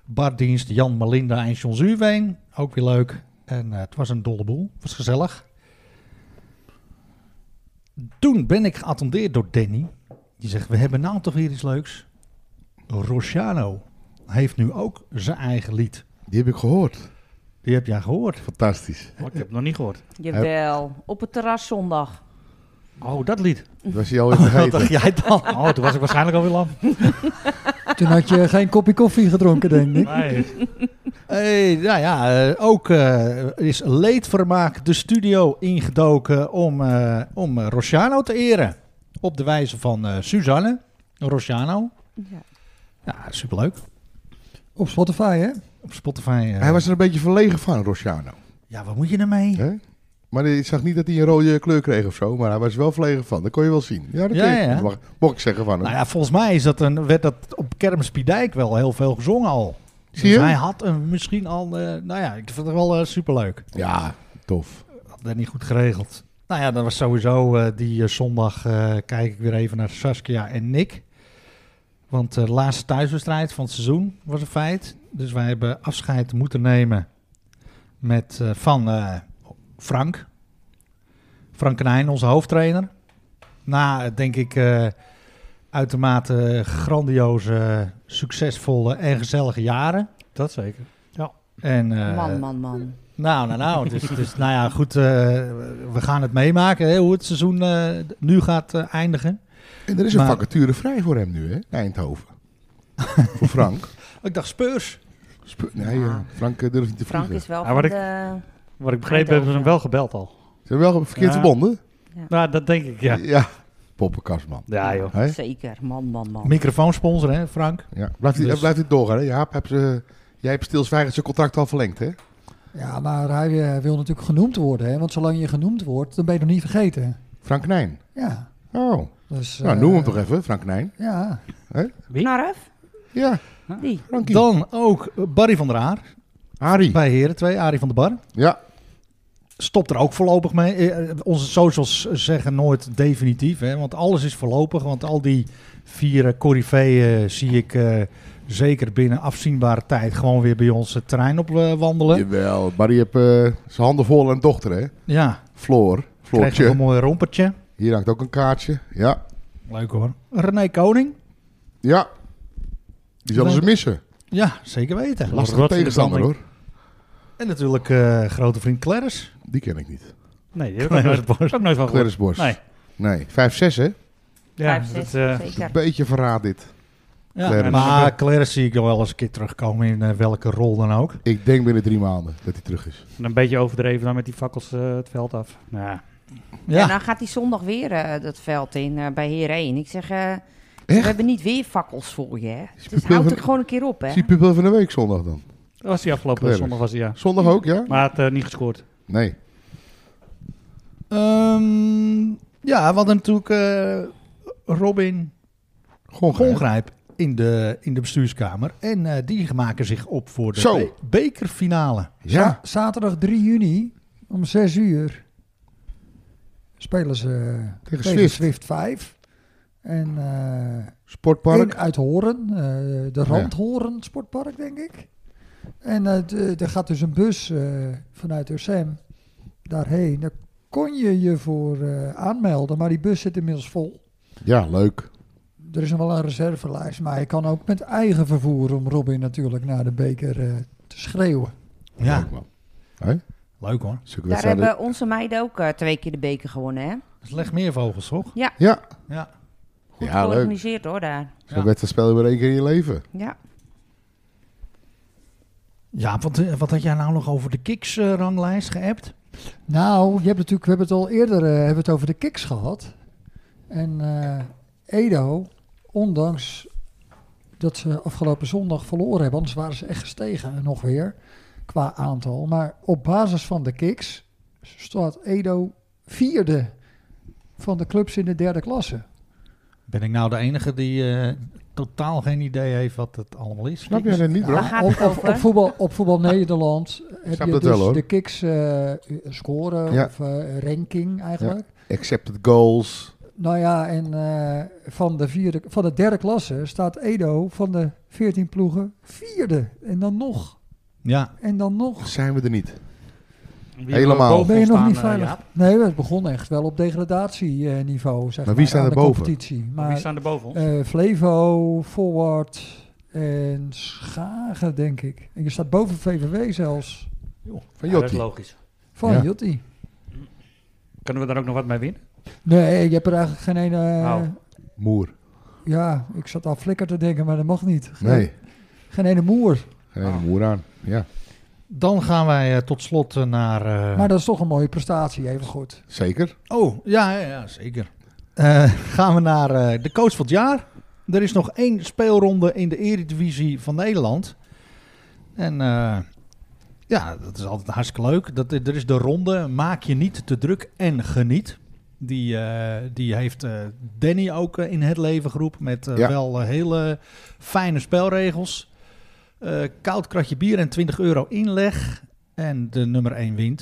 Speaker 1: Bardienst Jan Malinda en John Zuurveen. Ook weer leuk. En eh, het was een dolle boel. Het was gezellig. Toen ben ik geattendeerd door Danny. Die zegt, we hebben nou toch weer iets leuks. Rosciano heeft nu ook zijn eigen lied.
Speaker 4: die heb ik gehoord.
Speaker 1: Die heb jij gehoord.
Speaker 4: Fantastisch.
Speaker 3: Oh, ik heb het nog niet gehoord.
Speaker 2: Jawel, op het terras zondag.
Speaker 3: Oh, dat lied.
Speaker 4: Dat was hij
Speaker 1: Oh,
Speaker 4: alweer vergeten.
Speaker 1: jij dan?
Speaker 3: Oh, toen was ik waarschijnlijk alweer lang.
Speaker 5: Toen had je geen kopje koffie gedronken, denk ik.
Speaker 3: Nee.
Speaker 1: Hey, nou ja, eh, ook eh, is leedvermaak de studio ingedoken om, eh om eh, Rosciano te eren. Op de wijze van eh, Suzanne Rosciano.
Speaker 2: Ja.
Speaker 1: Ja, superleuk.
Speaker 5: Op Spotify, hè?
Speaker 1: Op Spotify. eh,
Speaker 4: Hij was er een beetje verlegen van, Rosciano.
Speaker 1: Ja, wat moet je ermee?
Speaker 4: Hè? Maar ik zag niet dat hij een rode kleur kreeg of zo, maar hij was er wel verlegen van. Dat kon je wel zien. Ja, dat
Speaker 1: Ja,
Speaker 4: ja,
Speaker 1: ja.
Speaker 4: Mag, mocht ik zeggen van hem.
Speaker 1: Nou ja, volgens mij is dat een, werd dat op Kermispiedijk wel heel veel gezongen al.
Speaker 4: Zie je?
Speaker 1: Dus hij had een, misschien al... eh, nou ja, ik vind het wel eh, superleuk.
Speaker 4: Ja, tof.
Speaker 1: Had dat niet goed geregeld. Nou ja, dat was sowieso eh, die eh, zondag. eh, kijk ik weer even naar Saskia en Nick. Want de laatste thuiswedstrijd van het seizoen was een feit. Dus wij hebben afscheid moeten nemen met, eh, van eh, Frank. Frank Knijn, onze hoofdtrainer. Na, eh, denk ik, eh, uitermate grandioze, succesvolle en gezellige jaren.
Speaker 3: Dat zeker.
Speaker 1: En, eh,
Speaker 2: Man, man, man.
Speaker 1: nou, nou, nou. Dus, dus, nou ja, goed. eh, we gaan het meemaken hè, hoe het seizoen eh, nu gaat eh, eindigen.
Speaker 4: En er is een
Speaker 1: Maar-
Speaker 4: vacature vrij voor hem nu, hè? in Eindhoven. voor Frank.
Speaker 1: Ik dacht Spurs.
Speaker 4: Sp- nee, eh,
Speaker 1: Ah.
Speaker 4: Frank eh, durft niet te vliegen.
Speaker 2: Frank is wel
Speaker 3: Ja,
Speaker 2: van
Speaker 3: wat ik-
Speaker 2: de...
Speaker 3: Wat ik begrepen hebben ze hem wel gebeld al.
Speaker 4: Ze hebben wel verkeerd
Speaker 3: Ja.
Speaker 4: verbonden.
Speaker 3: Nou, dat denk ik, ja.
Speaker 4: Poppenkastman.
Speaker 3: Ja, joh.
Speaker 4: Hè?
Speaker 2: Zeker, man, man, man.
Speaker 1: Microfoonsponsor, hè, Frank?
Speaker 4: Ja. Blijft, dit
Speaker 1: Dus-
Speaker 4: blijft dit doorgaan, hè? Jaap, heb ze, jij hebt stilzwijgend zijn contract al verlengd, hè?
Speaker 5: Ja, maar hij eh, wil natuurlijk genoemd worden, hè? Want zolang je genoemd wordt, dan ben je nog niet vergeten.
Speaker 4: Frank Nijn.
Speaker 5: Ja.
Speaker 4: Oh,
Speaker 5: Dus,
Speaker 4: nou
Speaker 5: eh,
Speaker 4: noem hem toch even, Frank Nijn.
Speaker 5: Ja.
Speaker 2: Knarf?
Speaker 4: Ja,
Speaker 2: Die.
Speaker 4: Frankie.
Speaker 1: Dan ook Barry van der Haar.
Speaker 4: Harry.
Speaker 1: Bij Heren 2, Arie van der Bar.
Speaker 4: Ja,
Speaker 1: Stopt er ook voorlopig mee. Eh, eh, Onze socials zeggen nooit definitief, hè, want alles is voorlopig. Want al die vier eh, coryfeeën zie ik eh, zeker binnen afzienbare tijd gewoon weer bij ons het terrein op eh, wandelen.
Speaker 4: jawel. Barry heeft eh, zijn handen vol en een dochter, hè?
Speaker 1: Ja,
Speaker 4: Floor.
Speaker 1: krijg nog
Speaker 4: Floortje.
Speaker 1: een mooi rompertje.
Speaker 4: Hier hangt ook een kaartje. Ja,
Speaker 1: Leuk hoor. René Koning.
Speaker 4: ja. Die zullen ze missen.
Speaker 1: Ja, zeker weten.
Speaker 3: Last-
Speaker 4: Lastige
Speaker 3: Rot in de
Speaker 4: tegenstander, hoor.
Speaker 3: branding.
Speaker 1: En natuurlijk eh, grote vriend Clarence.
Speaker 4: Die ken ik niet.
Speaker 3: Nee, die heb ik ook nooit, heb ik ook nooit van gehoord.
Speaker 4: Clarence Borst.
Speaker 3: Nee.
Speaker 4: Nee, 5-6 hè?
Speaker 3: Ja,
Speaker 2: Vijf, zes,
Speaker 3: dat, eh,
Speaker 2: zeker.
Speaker 4: Beetje verraad dit.
Speaker 1: Ja,
Speaker 4: Clarence.
Speaker 1: maar Clarence zie ik wel eens een keer terugkomen in eh, welke rol dan ook.
Speaker 4: Ik denk binnen drie maanden dat hij terug is.
Speaker 3: En een beetje overdreven dan met die fakkels eh, het veld af. Nou,
Speaker 1: Ja,
Speaker 2: En dan gaat hij zondag weer eh, dat veld in eh, bij Heer 1. Ik zeg, eh, we
Speaker 4: Echt?
Speaker 2: hebben niet weer fakkels voor je. Hè? Dus
Speaker 4: pupil
Speaker 2: houd
Speaker 4: van-
Speaker 2: het gewoon een keer op, hè?
Speaker 4: Zie pupil van de week zondag dan?
Speaker 3: dat was die afgelopen
Speaker 4: Clarence.
Speaker 3: zondag, was die, ja.
Speaker 4: Zondag ook, ja?
Speaker 3: Maar hij had eh, niet gescoord.
Speaker 4: Nee.
Speaker 1: Ehm, ja we hadden natuurlijk eh, Robin
Speaker 4: Gewoon geen.
Speaker 1: Gongrijp in de, in de bestuurskamer. En eh, die maken zich op voor de
Speaker 4: Zo.
Speaker 1: be- bekerfinale.
Speaker 4: Ja.
Speaker 5: Za- zaterdag 3 juni om 6 uur spelen ze tegen,
Speaker 4: Swift.
Speaker 5: Swift. 5. En eh,
Speaker 4: Sportpark.
Speaker 5: één uit Horen, eh,
Speaker 4: Ja.
Speaker 5: de Randhoren Sportpark, denk ik. En eh, d- er gaat dus een bus eh, vanuit Ursem daarheen. Daar kon je je voor eh, aanmelden, maar die bus zit inmiddels vol.
Speaker 4: Ja, leuk.
Speaker 5: Er is nog wel een reservelijst, maar je kan ook met eigen vervoer om Robin natuurlijk naar de beker eh, te schreeuwen.
Speaker 1: Ja,
Speaker 4: Leuk, man. Hé?
Speaker 1: leuk hoor.
Speaker 4: Zulke
Speaker 2: Daar
Speaker 4: wedstrijden-
Speaker 2: hebben onze meiden ook eh, twee keer de beker gewonnen, hè?
Speaker 1: Dat is leg meer vogels, toch?
Speaker 4: Ja,
Speaker 1: Ja.
Speaker 2: Goed
Speaker 4: Ja, leuk.
Speaker 2: georganiseerd, hoor, daar.
Speaker 4: zo'n
Speaker 1: Ja.
Speaker 4: wedstrijd speel je maar één keer in je leven.
Speaker 2: Ja.
Speaker 1: Ja, wat, eh, wat had jij nou nog over de Kiks-ranglijst geappt?
Speaker 5: Nou, je hebt natuurlijk, we hebben het al eerder eh, hebben we het over de kicks gehad. En eh, Edo, ondanks dat ze afgelopen zondag verloren hebben, anders waren ze echt gestegen nog weer qua aantal. Maar op basis van de kicks staat Edo vierde van de clubs in de derde klasse.
Speaker 1: Ben ik nou de enige die eh, totaal geen idee heeft wat het allemaal is?
Speaker 4: Snap jij dat niet,
Speaker 5: Ja,
Speaker 4: bro?
Speaker 2: Waar gaat
Speaker 5: op,
Speaker 2: het
Speaker 5: op-
Speaker 2: over?
Speaker 5: op voetbal, op voetbal Nederland heb
Speaker 4: Snap
Speaker 5: je
Speaker 4: dat
Speaker 5: dus
Speaker 4: wel, hoor.
Speaker 5: de kicks eh, scoren
Speaker 4: Ja.
Speaker 5: of eh, ranking eigenlijk.
Speaker 4: Accepted goals.
Speaker 5: Nou ja, en eh, van, de vierde, van de derde klasse staat Edo van de 14 ploegen vierde. En dan nog.
Speaker 1: Ja,
Speaker 5: En dan nog.
Speaker 4: Zijn we er niet.
Speaker 3: Wie
Speaker 4: Helemaal.
Speaker 3: boven
Speaker 5: Ben je
Speaker 3: ons
Speaker 5: nog
Speaker 3: staan,
Speaker 5: niet
Speaker 3: eh,
Speaker 5: veilig?
Speaker 3: Jaap?
Speaker 5: Nee, het begon echt wel op degradatieniveau. Zeg
Speaker 4: Maar
Speaker 5: maar
Speaker 4: wie staan
Speaker 5: aan
Speaker 4: er
Speaker 5: de
Speaker 4: boven?
Speaker 5: Competitie. Maar
Speaker 3: Wie staan er boven ons?
Speaker 5: eh, Flevo, Forward en Schagen, denk ik. En je staat boven VVW zelfs.
Speaker 4: Van
Speaker 3: Ja, dat is
Speaker 4: Jotti.
Speaker 3: logisch.
Speaker 5: Van
Speaker 4: Ja.
Speaker 5: Jutti.
Speaker 3: Kunnen we daar ook nog wat mee winnen?
Speaker 5: Nee, je hebt er eigenlijk geen ene...
Speaker 3: Nou.
Speaker 4: Moer.
Speaker 5: Ja, ik zat al flikker te denken, maar dat mag niet. Geen,
Speaker 4: Nee,
Speaker 5: geen ene moer.
Speaker 4: geen
Speaker 3: Ah.
Speaker 4: ene moer aan. Ja,
Speaker 1: dan gaan wij eh, tot slot eh, naar... eh,
Speaker 5: Maar dat is toch een mooie prestatie, even goed.
Speaker 4: zeker.
Speaker 1: Oh, ja, ja, ja zeker. Eh, gaan we naar eh, de coach van het jaar. Er is nog één speelronde in de Eredivisie van Nederland. En eh, ja, dat is altijd hartstikke leuk. Dat, er is de ronde Maak je niet te druk en geniet. Die, eh, die heeft eh, Danny ook eh, in het leven geroepen met eh,
Speaker 4: Ja.
Speaker 1: wel eh, hele fijne spelregels. Eh, koud kratje bier en 20 euro inleg. En de nummer 1 wint.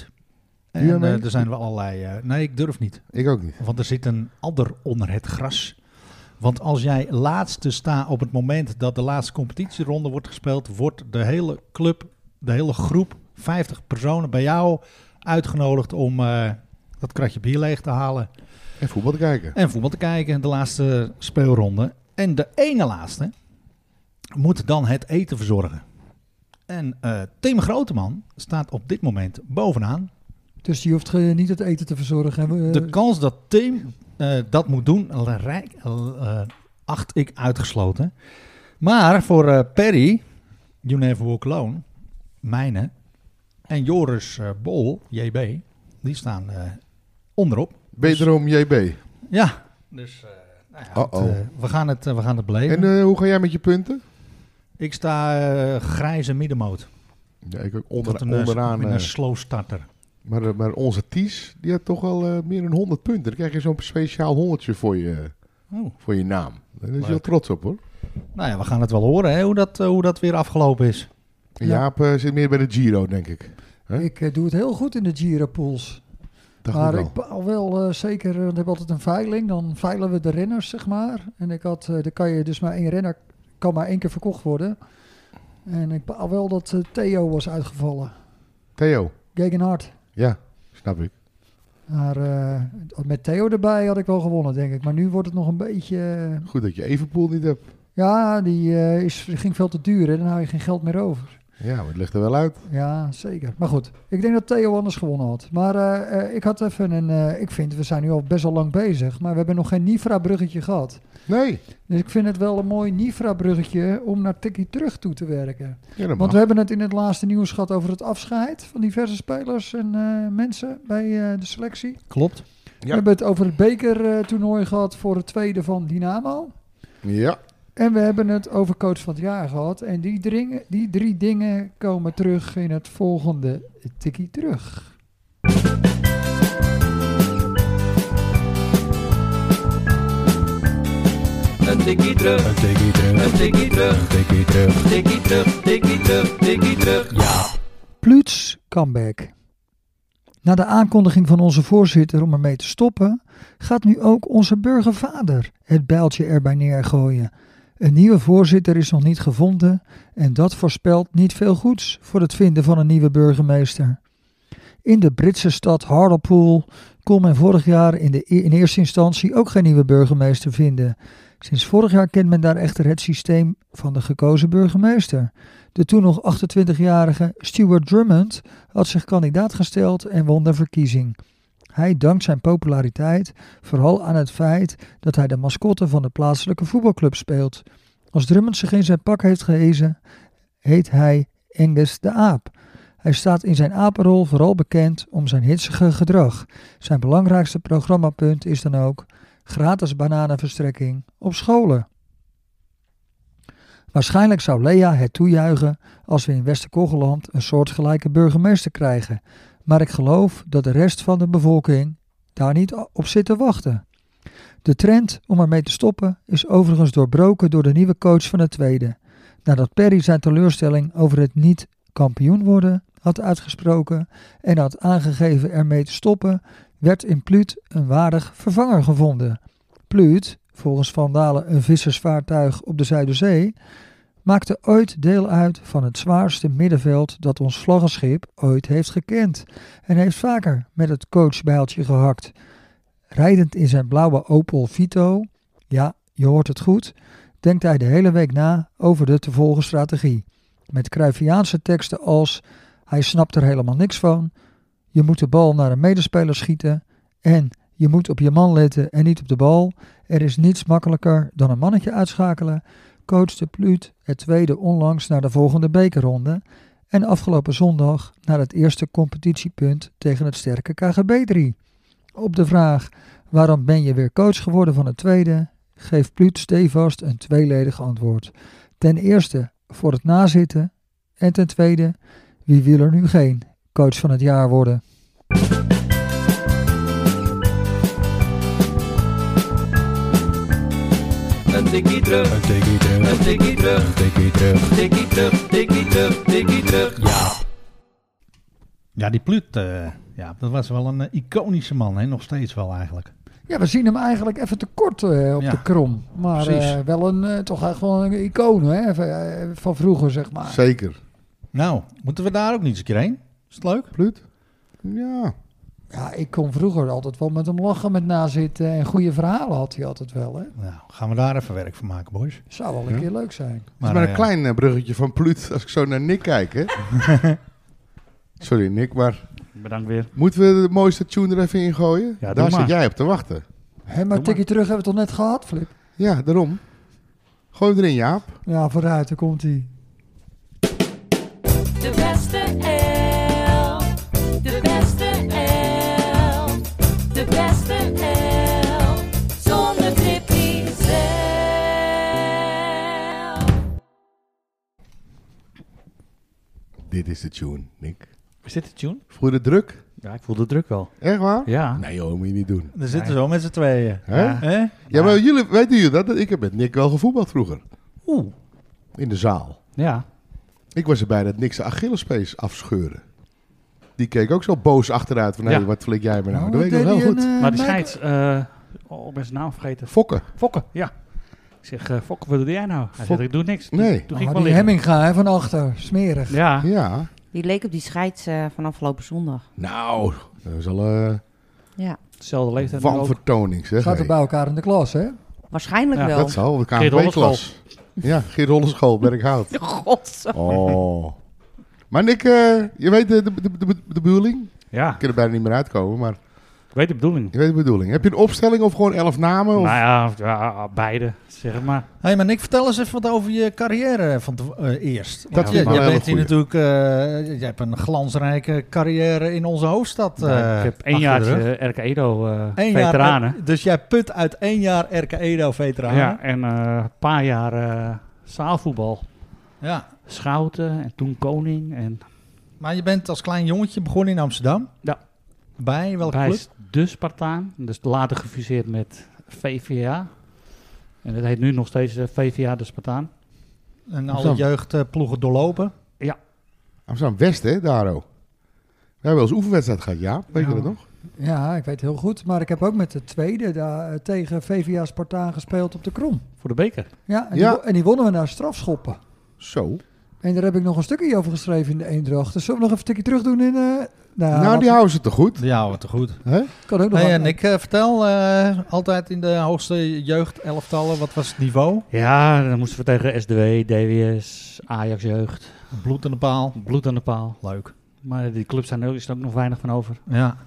Speaker 1: En
Speaker 4: Doe jij
Speaker 1: eh,
Speaker 4: mee?
Speaker 1: er zijn wel allerlei... eh, nee, ik durf niet.
Speaker 4: Ik ook niet.
Speaker 1: Want er zit een adder onder het gras. Want als jij laatste staat op het moment dat de laatste competitieronde wordt gespeeld, wordt de hele club, de hele groep, 50 personen bij jou uitgenodigd om eh, dat kratje bier leeg te halen
Speaker 4: En voetbal te kijken.
Speaker 1: en voetbal te kijken. De laatste speelronde. En de ene laatste moet dan het eten verzorgen. En eh Tim Groteman staat op dit moment bovenaan
Speaker 5: Dus die hoeft eh, niet het eten te verzorgen. En, we- eh,
Speaker 1: De kans dat Tim eh, dat moet doen, rijk, eh, acht ik uitgesloten. Maar voor eh, Perry, You Never Walk Alone, mijne, en Joris eh, Bol, JB, die staan eh, onderop.
Speaker 4: Dus- Beterom JB.
Speaker 1: Ja, dus eh, nou ja,
Speaker 4: Uh-oh.
Speaker 1: het, eh, we, gaan het, eh, we gaan het beleven.
Speaker 4: En eh, hoe ga jij met je punten?
Speaker 1: ik sta eh, grijze middenmoot.
Speaker 4: Ja, ik ook
Speaker 1: Tot
Speaker 4: onder,
Speaker 1: een, eh,
Speaker 4: onderaan.
Speaker 1: met een
Speaker 4: eh,
Speaker 1: slow starter.
Speaker 4: maar, eh, maar onze Ties, die had toch wel eh, meer dan 100 punten. Dan krijg je zo'n speciaal honderdje voor je,
Speaker 1: Oh.
Speaker 4: voor je naam. Daar is je
Speaker 1: Leuk.
Speaker 4: heel trots op hoor.
Speaker 1: Nou ja, we gaan het wel horen hè, hoe, dat, eh, hoe dat weer afgelopen is.
Speaker 4: En
Speaker 5: Ja.
Speaker 4: Jaap eh, zit meer bij de Giro, denk ik. hè?
Speaker 5: Ik eh, doe het heel goed in de Giro-pools.
Speaker 4: Dacht
Speaker 5: Maar
Speaker 4: ik
Speaker 5: ik
Speaker 4: wel.
Speaker 5: baal wel eh, zeker, eh, want we hebben altijd een veiling. Dan veilen we de renners, zeg maar. En ik had, eh, dan kan je dus maar één renner, kan maar één keer verkocht worden. En ik baal wel dat eh, Theo was uitgevallen.
Speaker 4: Theo.
Speaker 5: Gegenhard.
Speaker 4: Ja, snap ik.
Speaker 5: Maar eh, met Theo erbij had ik wel gewonnen, denk ik. Maar nu wordt het nog een beetje... eh,
Speaker 4: Goed dat je Evenpoel niet hebt.
Speaker 5: ja, die eh, is, ging veel te duur en dan hou je geen geld meer over.
Speaker 4: Ja, maar het ligt er wel uit.
Speaker 5: Ja, zeker. Maar goed, ik denk dat Theo anders gewonnen had. Maar eh, eh, ik had even een... eh, ik vind, we zijn nu al best wel lang bezig, maar we hebben nog geen Nifra-bruggetje gehad.
Speaker 4: Nee.
Speaker 5: Dus ik vind het wel een mooi Nifra-bruggetje om naar Tikkie terug toe te werken.
Speaker 4: Ja, dat
Speaker 5: Want
Speaker 4: mag.
Speaker 5: we hebben het in het laatste nieuws gehad over het afscheid van diverse spelers en eh, mensen bij eh, de selectie.
Speaker 1: Klopt.
Speaker 4: Ja.
Speaker 5: We hebben het over het bekertoernooi gehad voor het tweede van Dynamo.
Speaker 4: Ja.
Speaker 5: En we hebben het over coach van het jaar gehad. En die, dringen, die drie dingen komen terug in het volgende tikkie terug.
Speaker 6: Een tikkie terug,
Speaker 1: Een tikkie
Speaker 6: een
Speaker 1: terug,
Speaker 6: tikkie terug,
Speaker 1: tikkie terug.
Speaker 6: tikkie terug, tikkie terug, tikkie terug. Ja.
Speaker 5: Pluuts comeback. Na de aankondiging van onze voorzitter om ermee te stoppen, gaat nu ook onze burgervader het bijltje erbij neergooien. Een nieuwe voorzitter is nog niet gevonden en dat voorspelt niet veel goeds voor het vinden van een nieuwe burgemeester. In de Britse stad Hartlepool kon men vorig jaar in, de, e-, in eerste instantie ook geen nieuwe burgemeester vinden. Sinds vorig jaar kent men daar echter het systeem van de gekozen burgemeester. De toen nog 28-jarige Stuart Drummond had zich kandidaat gesteld en won de verkiezing. Hij dankt zijn populariteit vooral aan het feit dat hij de mascotte van de plaatselijke voetbalclub speelt. Als Drummond zich in zijn pak heeft gehezen, heet hij Angus de Aap. Hij staat in zijn apenrol vooral bekend om zijn hitsige gedrag. Zijn belangrijkste programmapunt is dan ook gratis bananenverstrekking op scholen. Waarschijnlijk zou Lea het toejuichen als we in Wester-Kogeland een soortgelijke burgemeester krijgen. Maar ik geloof dat de rest van de bevolking daar niet op zit te wachten. De trend om ermee te stoppen is overigens doorbroken door de nieuwe coach van het tweede. Nadat Perry zijn teleurstelling over het niet kampioen worden had uitgesproken en had aangegeven ermee te stoppen, werd in Pluut een waardig vervanger gevonden. Pluut, volgens Van Dalen een vissersvaartuig op de Zuiderzee, maakte ooit deel uit van het zwaarste middenveld dat ons vlaggenschip ooit heeft gekend en heeft vaker met het coachbijltje gehakt. Rijdend in zijn blauwe Opel Vito, ja, je hoort het goed, denkt hij de hele week na over de te volgen strategie. Met Cruyffiaanse teksten als hij snapt er helemaal niks van, je moet de bal naar een medespeler schieten en je moet op je man letten en niet op de bal. Er is niets makkelijker dan een mannetje uitschakelen coachte Pluut het tweede onlangs naar de volgende bekerronde en afgelopen zondag naar het eerste competitiepunt tegen het sterke KGB3. Op de vraag waarom ben je weer coach geworden van het tweede, geeft Pluut stevast een tweeledig antwoord. Ten eerste voor het nazitten en ten tweede wie wil er nu geen coach van het jaar worden.
Speaker 6: Een tikkie terug,
Speaker 1: Een tikkie terug,
Speaker 6: een tikkie terug,
Speaker 1: tikkie terug.
Speaker 6: tikkie terug, tikkie terug, tikkie terug. Ja.
Speaker 1: Ja, die Pluut, eh, ja, dat was wel een eh, iconische man, hè? nog steeds wel eigenlijk.
Speaker 5: Ja, we zien hem eigenlijk even tekort eh, op
Speaker 1: Ja,
Speaker 5: de krom. Maar
Speaker 1: precies.
Speaker 5: eh, wel een, eh, toch echt wel een icoon hè, van, eh, van vroeger, zeg maar.
Speaker 4: Zeker.
Speaker 1: Nou, moeten we daar ook niet eens een keer heen? Is het leuk?
Speaker 4: Pluut? Ja.
Speaker 5: Ja, ik kon vroeger altijd wel met hem lachen, met nazitten. En goede verhalen had hij altijd wel. Hè?
Speaker 1: Nou, gaan we daar even werk van maken, boys.
Speaker 5: Zou wel een
Speaker 4: Ja.
Speaker 5: keer leuk zijn.
Speaker 4: Het is maar een
Speaker 1: eh,
Speaker 4: klein eh, bruggetje van Pluut als ik zo naar Nick kijk, hè? Sorry, Nick, maar
Speaker 3: Bedankt weer.
Speaker 4: moeten we de mooiste tune er even in gooien?
Speaker 3: Ja, doe
Speaker 4: Daar
Speaker 3: maar.
Speaker 4: zit jij op te wachten.
Speaker 5: Hé,
Speaker 3: maar.
Speaker 5: maar tikkie terug hebben we toch net gehad, Flip?
Speaker 4: Ja, daarom. Gooi hem erin, Jaap.
Speaker 5: Ja, vooruit, daar komt hij.
Speaker 7: De beste elf. De beste elf. De beste elf. Zonder Tippy zelf.
Speaker 4: Dit is de tune, Nick.
Speaker 3: Is dit de tune?
Speaker 4: Voel je de druk?
Speaker 3: Ja, ik voel de druk wel.
Speaker 4: Echt waar?
Speaker 3: Ja.
Speaker 4: Nee joh, moet je niet doen.
Speaker 1: Er zitten zo met z'n tweeën.
Speaker 4: Hè?
Speaker 3: Ja.
Speaker 1: Hè?
Speaker 4: Ja, maar jullie, weten jullie dat? Ik heb met Nick wel gevoetbald vroeger.
Speaker 1: Oeh.
Speaker 4: In de zaal.
Speaker 3: Ja.
Speaker 4: Ik was erbij dat Nick zijn Achillespees afscheuren. Die keek ook zo boos achteruit van, hé,
Speaker 3: Ja.
Speaker 4: wat flik jij me nou?
Speaker 5: Oh,
Speaker 4: Dat weet ik
Speaker 5: deed
Speaker 4: nog
Speaker 5: hij
Speaker 4: wel
Speaker 5: een,
Speaker 4: goed.
Speaker 5: eh,
Speaker 3: Maar de
Speaker 5: make-
Speaker 3: scheids... eh oh, ik ben zijn naam vergeten.
Speaker 4: Fokken.
Speaker 3: Fokken, ja. Ik zeg, eh Fokken, wat doe jij nou? Hij
Speaker 4: Fok-
Speaker 3: zegt, ik doe niks.
Speaker 4: Nee.
Speaker 3: Toen, toen
Speaker 5: Oh,
Speaker 3: ging ik wel
Speaker 5: die
Speaker 3: liggen.
Speaker 5: hemming gaan van achter, smerig.
Speaker 3: Ja.
Speaker 4: Ja.
Speaker 2: Die leek op die scheids eh, van afgelopen zondag.
Speaker 4: Nou, dat is al een
Speaker 2: Ja,
Speaker 3: Hetzelfde leeftijd nu nou ook.
Speaker 4: wanvertoning zeg.
Speaker 5: Gaat
Speaker 4: hé.
Speaker 5: er bij elkaar in de klas, hè?
Speaker 2: waarschijnlijk
Speaker 3: Ja,
Speaker 2: wel.
Speaker 4: Dat zal, de
Speaker 3: Geert Hollenschool.
Speaker 4: KNP-klas. Ja, Geert Hollenschool, Berkhout.
Speaker 2: God.
Speaker 4: Oh. Maar Nick, eh, je weet de, de, de, de- de bedoeling?
Speaker 3: Ja,
Speaker 4: Ik kan er bijna niet meer uitkomen, maar
Speaker 3: ik weet de bedoeling.
Speaker 4: je weet de bedoeling. Heb je een opstelling of gewoon elf namen? Of?
Speaker 3: Nou ja, ja, beide, zeg maar.
Speaker 1: Hey, maar Nick, vertel eens even wat over je carrière van tev- eh, eerst. Want
Speaker 4: Dat
Speaker 1: je,
Speaker 4: vind ik wel
Speaker 1: je
Speaker 4: een hele
Speaker 1: bent hier
Speaker 4: goeie.
Speaker 1: natuurlijk, eh, je hebt een glansrijke carrière in onze hoofdstad. eh,
Speaker 3: ik heb één
Speaker 1: achter de
Speaker 3: jaar
Speaker 1: rug.
Speaker 3: RK Edo eh,
Speaker 1: Eén jaar-
Speaker 3: veteranen.
Speaker 1: dus jij put uit één jaar RK Edo veteranen.
Speaker 3: ja, en eh, een paar jaar eh, zaalvoetbal.
Speaker 1: Ja.
Speaker 3: Schouten en toen Koning. En
Speaker 1: Maar je bent als klein jongetje begonnen in Amsterdam.
Speaker 3: Ja.
Speaker 1: Bij welke
Speaker 3: bij
Speaker 1: club?
Speaker 3: de Spartaan. Dus later gefuseerd met VVA. En dat heet nu nog steeds eh, VVA de Spartaan.
Speaker 1: En alle
Speaker 4: Amsterdam.
Speaker 1: jeugdploegen doorlopen.
Speaker 4: Amsterdam West, hè, Daro? We hebben wel eens oefenwedstrijd gehad, ja. Weet je
Speaker 3: Ja.
Speaker 4: dat nog?
Speaker 5: Ja, ik weet heel goed. Maar ik heb ook met de tweede daar eh, tegen VVA Spartaan gespeeld op de Krom.
Speaker 3: Voor de beker.
Speaker 5: Ja, en,
Speaker 4: Ja.
Speaker 5: Die, wo- en die wonnen we naar strafschoppen.
Speaker 4: Zo.
Speaker 5: En daar heb ik nog een stukje over geschreven in de Eendracht. Dus zullen we nog even een stukje terug doen in... eh, nou,
Speaker 4: nou,
Speaker 5: laat-
Speaker 4: die houden ze te goed.
Speaker 1: Ja, wat goed.
Speaker 4: Hè?
Speaker 5: kan ook nog
Speaker 1: Hey,
Speaker 5: aan-
Speaker 1: en ik eh, vertel, eh, altijd in de hoogste jeugd elftallen, wat was het niveau?
Speaker 3: Ja, dan moesten we tegen SDW, DWS, Ajax Jeugd.
Speaker 1: Bloed aan de paal.
Speaker 3: Bloed aan de paal.
Speaker 1: Leuk.
Speaker 3: Maar die clubs zijn er is er ook nog weinig van over.
Speaker 1: Ja.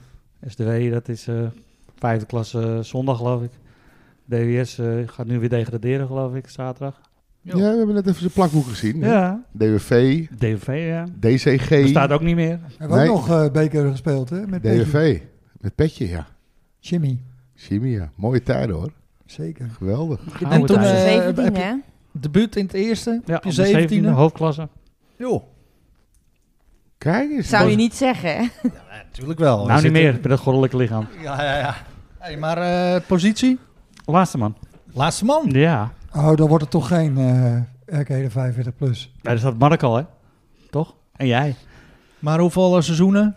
Speaker 3: SDW, dat is eh, vijfde klasse eh, zondag, geloof ik. DWS eh, gaat nu weer degraderen, geloof ik, zaterdag.
Speaker 4: Ja, we hebben net even zijn plakboek gezien. hè?
Speaker 3: Ja.
Speaker 4: DWV,
Speaker 3: DVV, ja.
Speaker 4: DCG,
Speaker 3: Bestaat ook niet meer.
Speaker 5: We hebben ook
Speaker 4: Nee.
Speaker 5: nog eh, beker gespeeld, hè? Met Jimmy.
Speaker 4: DWV. Met petje, ja.
Speaker 5: Jimmy,
Speaker 4: Jimmy, ja. Mooie tijden, hoor.
Speaker 5: zeker.
Speaker 4: Geweldig.
Speaker 3: Gouden
Speaker 1: toen,
Speaker 3: tijden.
Speaker 1: eh,
Speaker 2: 17,
Speaker 1: heb je-
Speaker 2: hè?
Speaker 1: Debuut in het eerste,
Speaker 3: ja,
Speaker 1: op je
Speaker 3: op Oh, de 17e,
Speaker 1: zeventiende.
Speaker 3: hoofdklasse.
Speaker 1: Jo,
Speaker 4: Kijk eens.
Speaker 2: Zou je niet zeggen, hè?
Speaker 1: natuurlijk wel. We
Speaker 3: nou, niet
Speaker 1: zitten-
Speaker 3: meer, met dat goddelijke lichaam.
Speaker 1: Ja, ja, ja. Hey, maar eh, positie?
Speaker 3: Laatste man.
Speaker 1: Laatste man.
Speaker 3: Ja.
Speaker 5: Oh, dan wordt het toch geen eh RK de 45 plus.
Speaker 3: ja daar staat Mark al, hè? Toch? En jij?
Speaker 1: Maar hoeveel eh, seizoenen?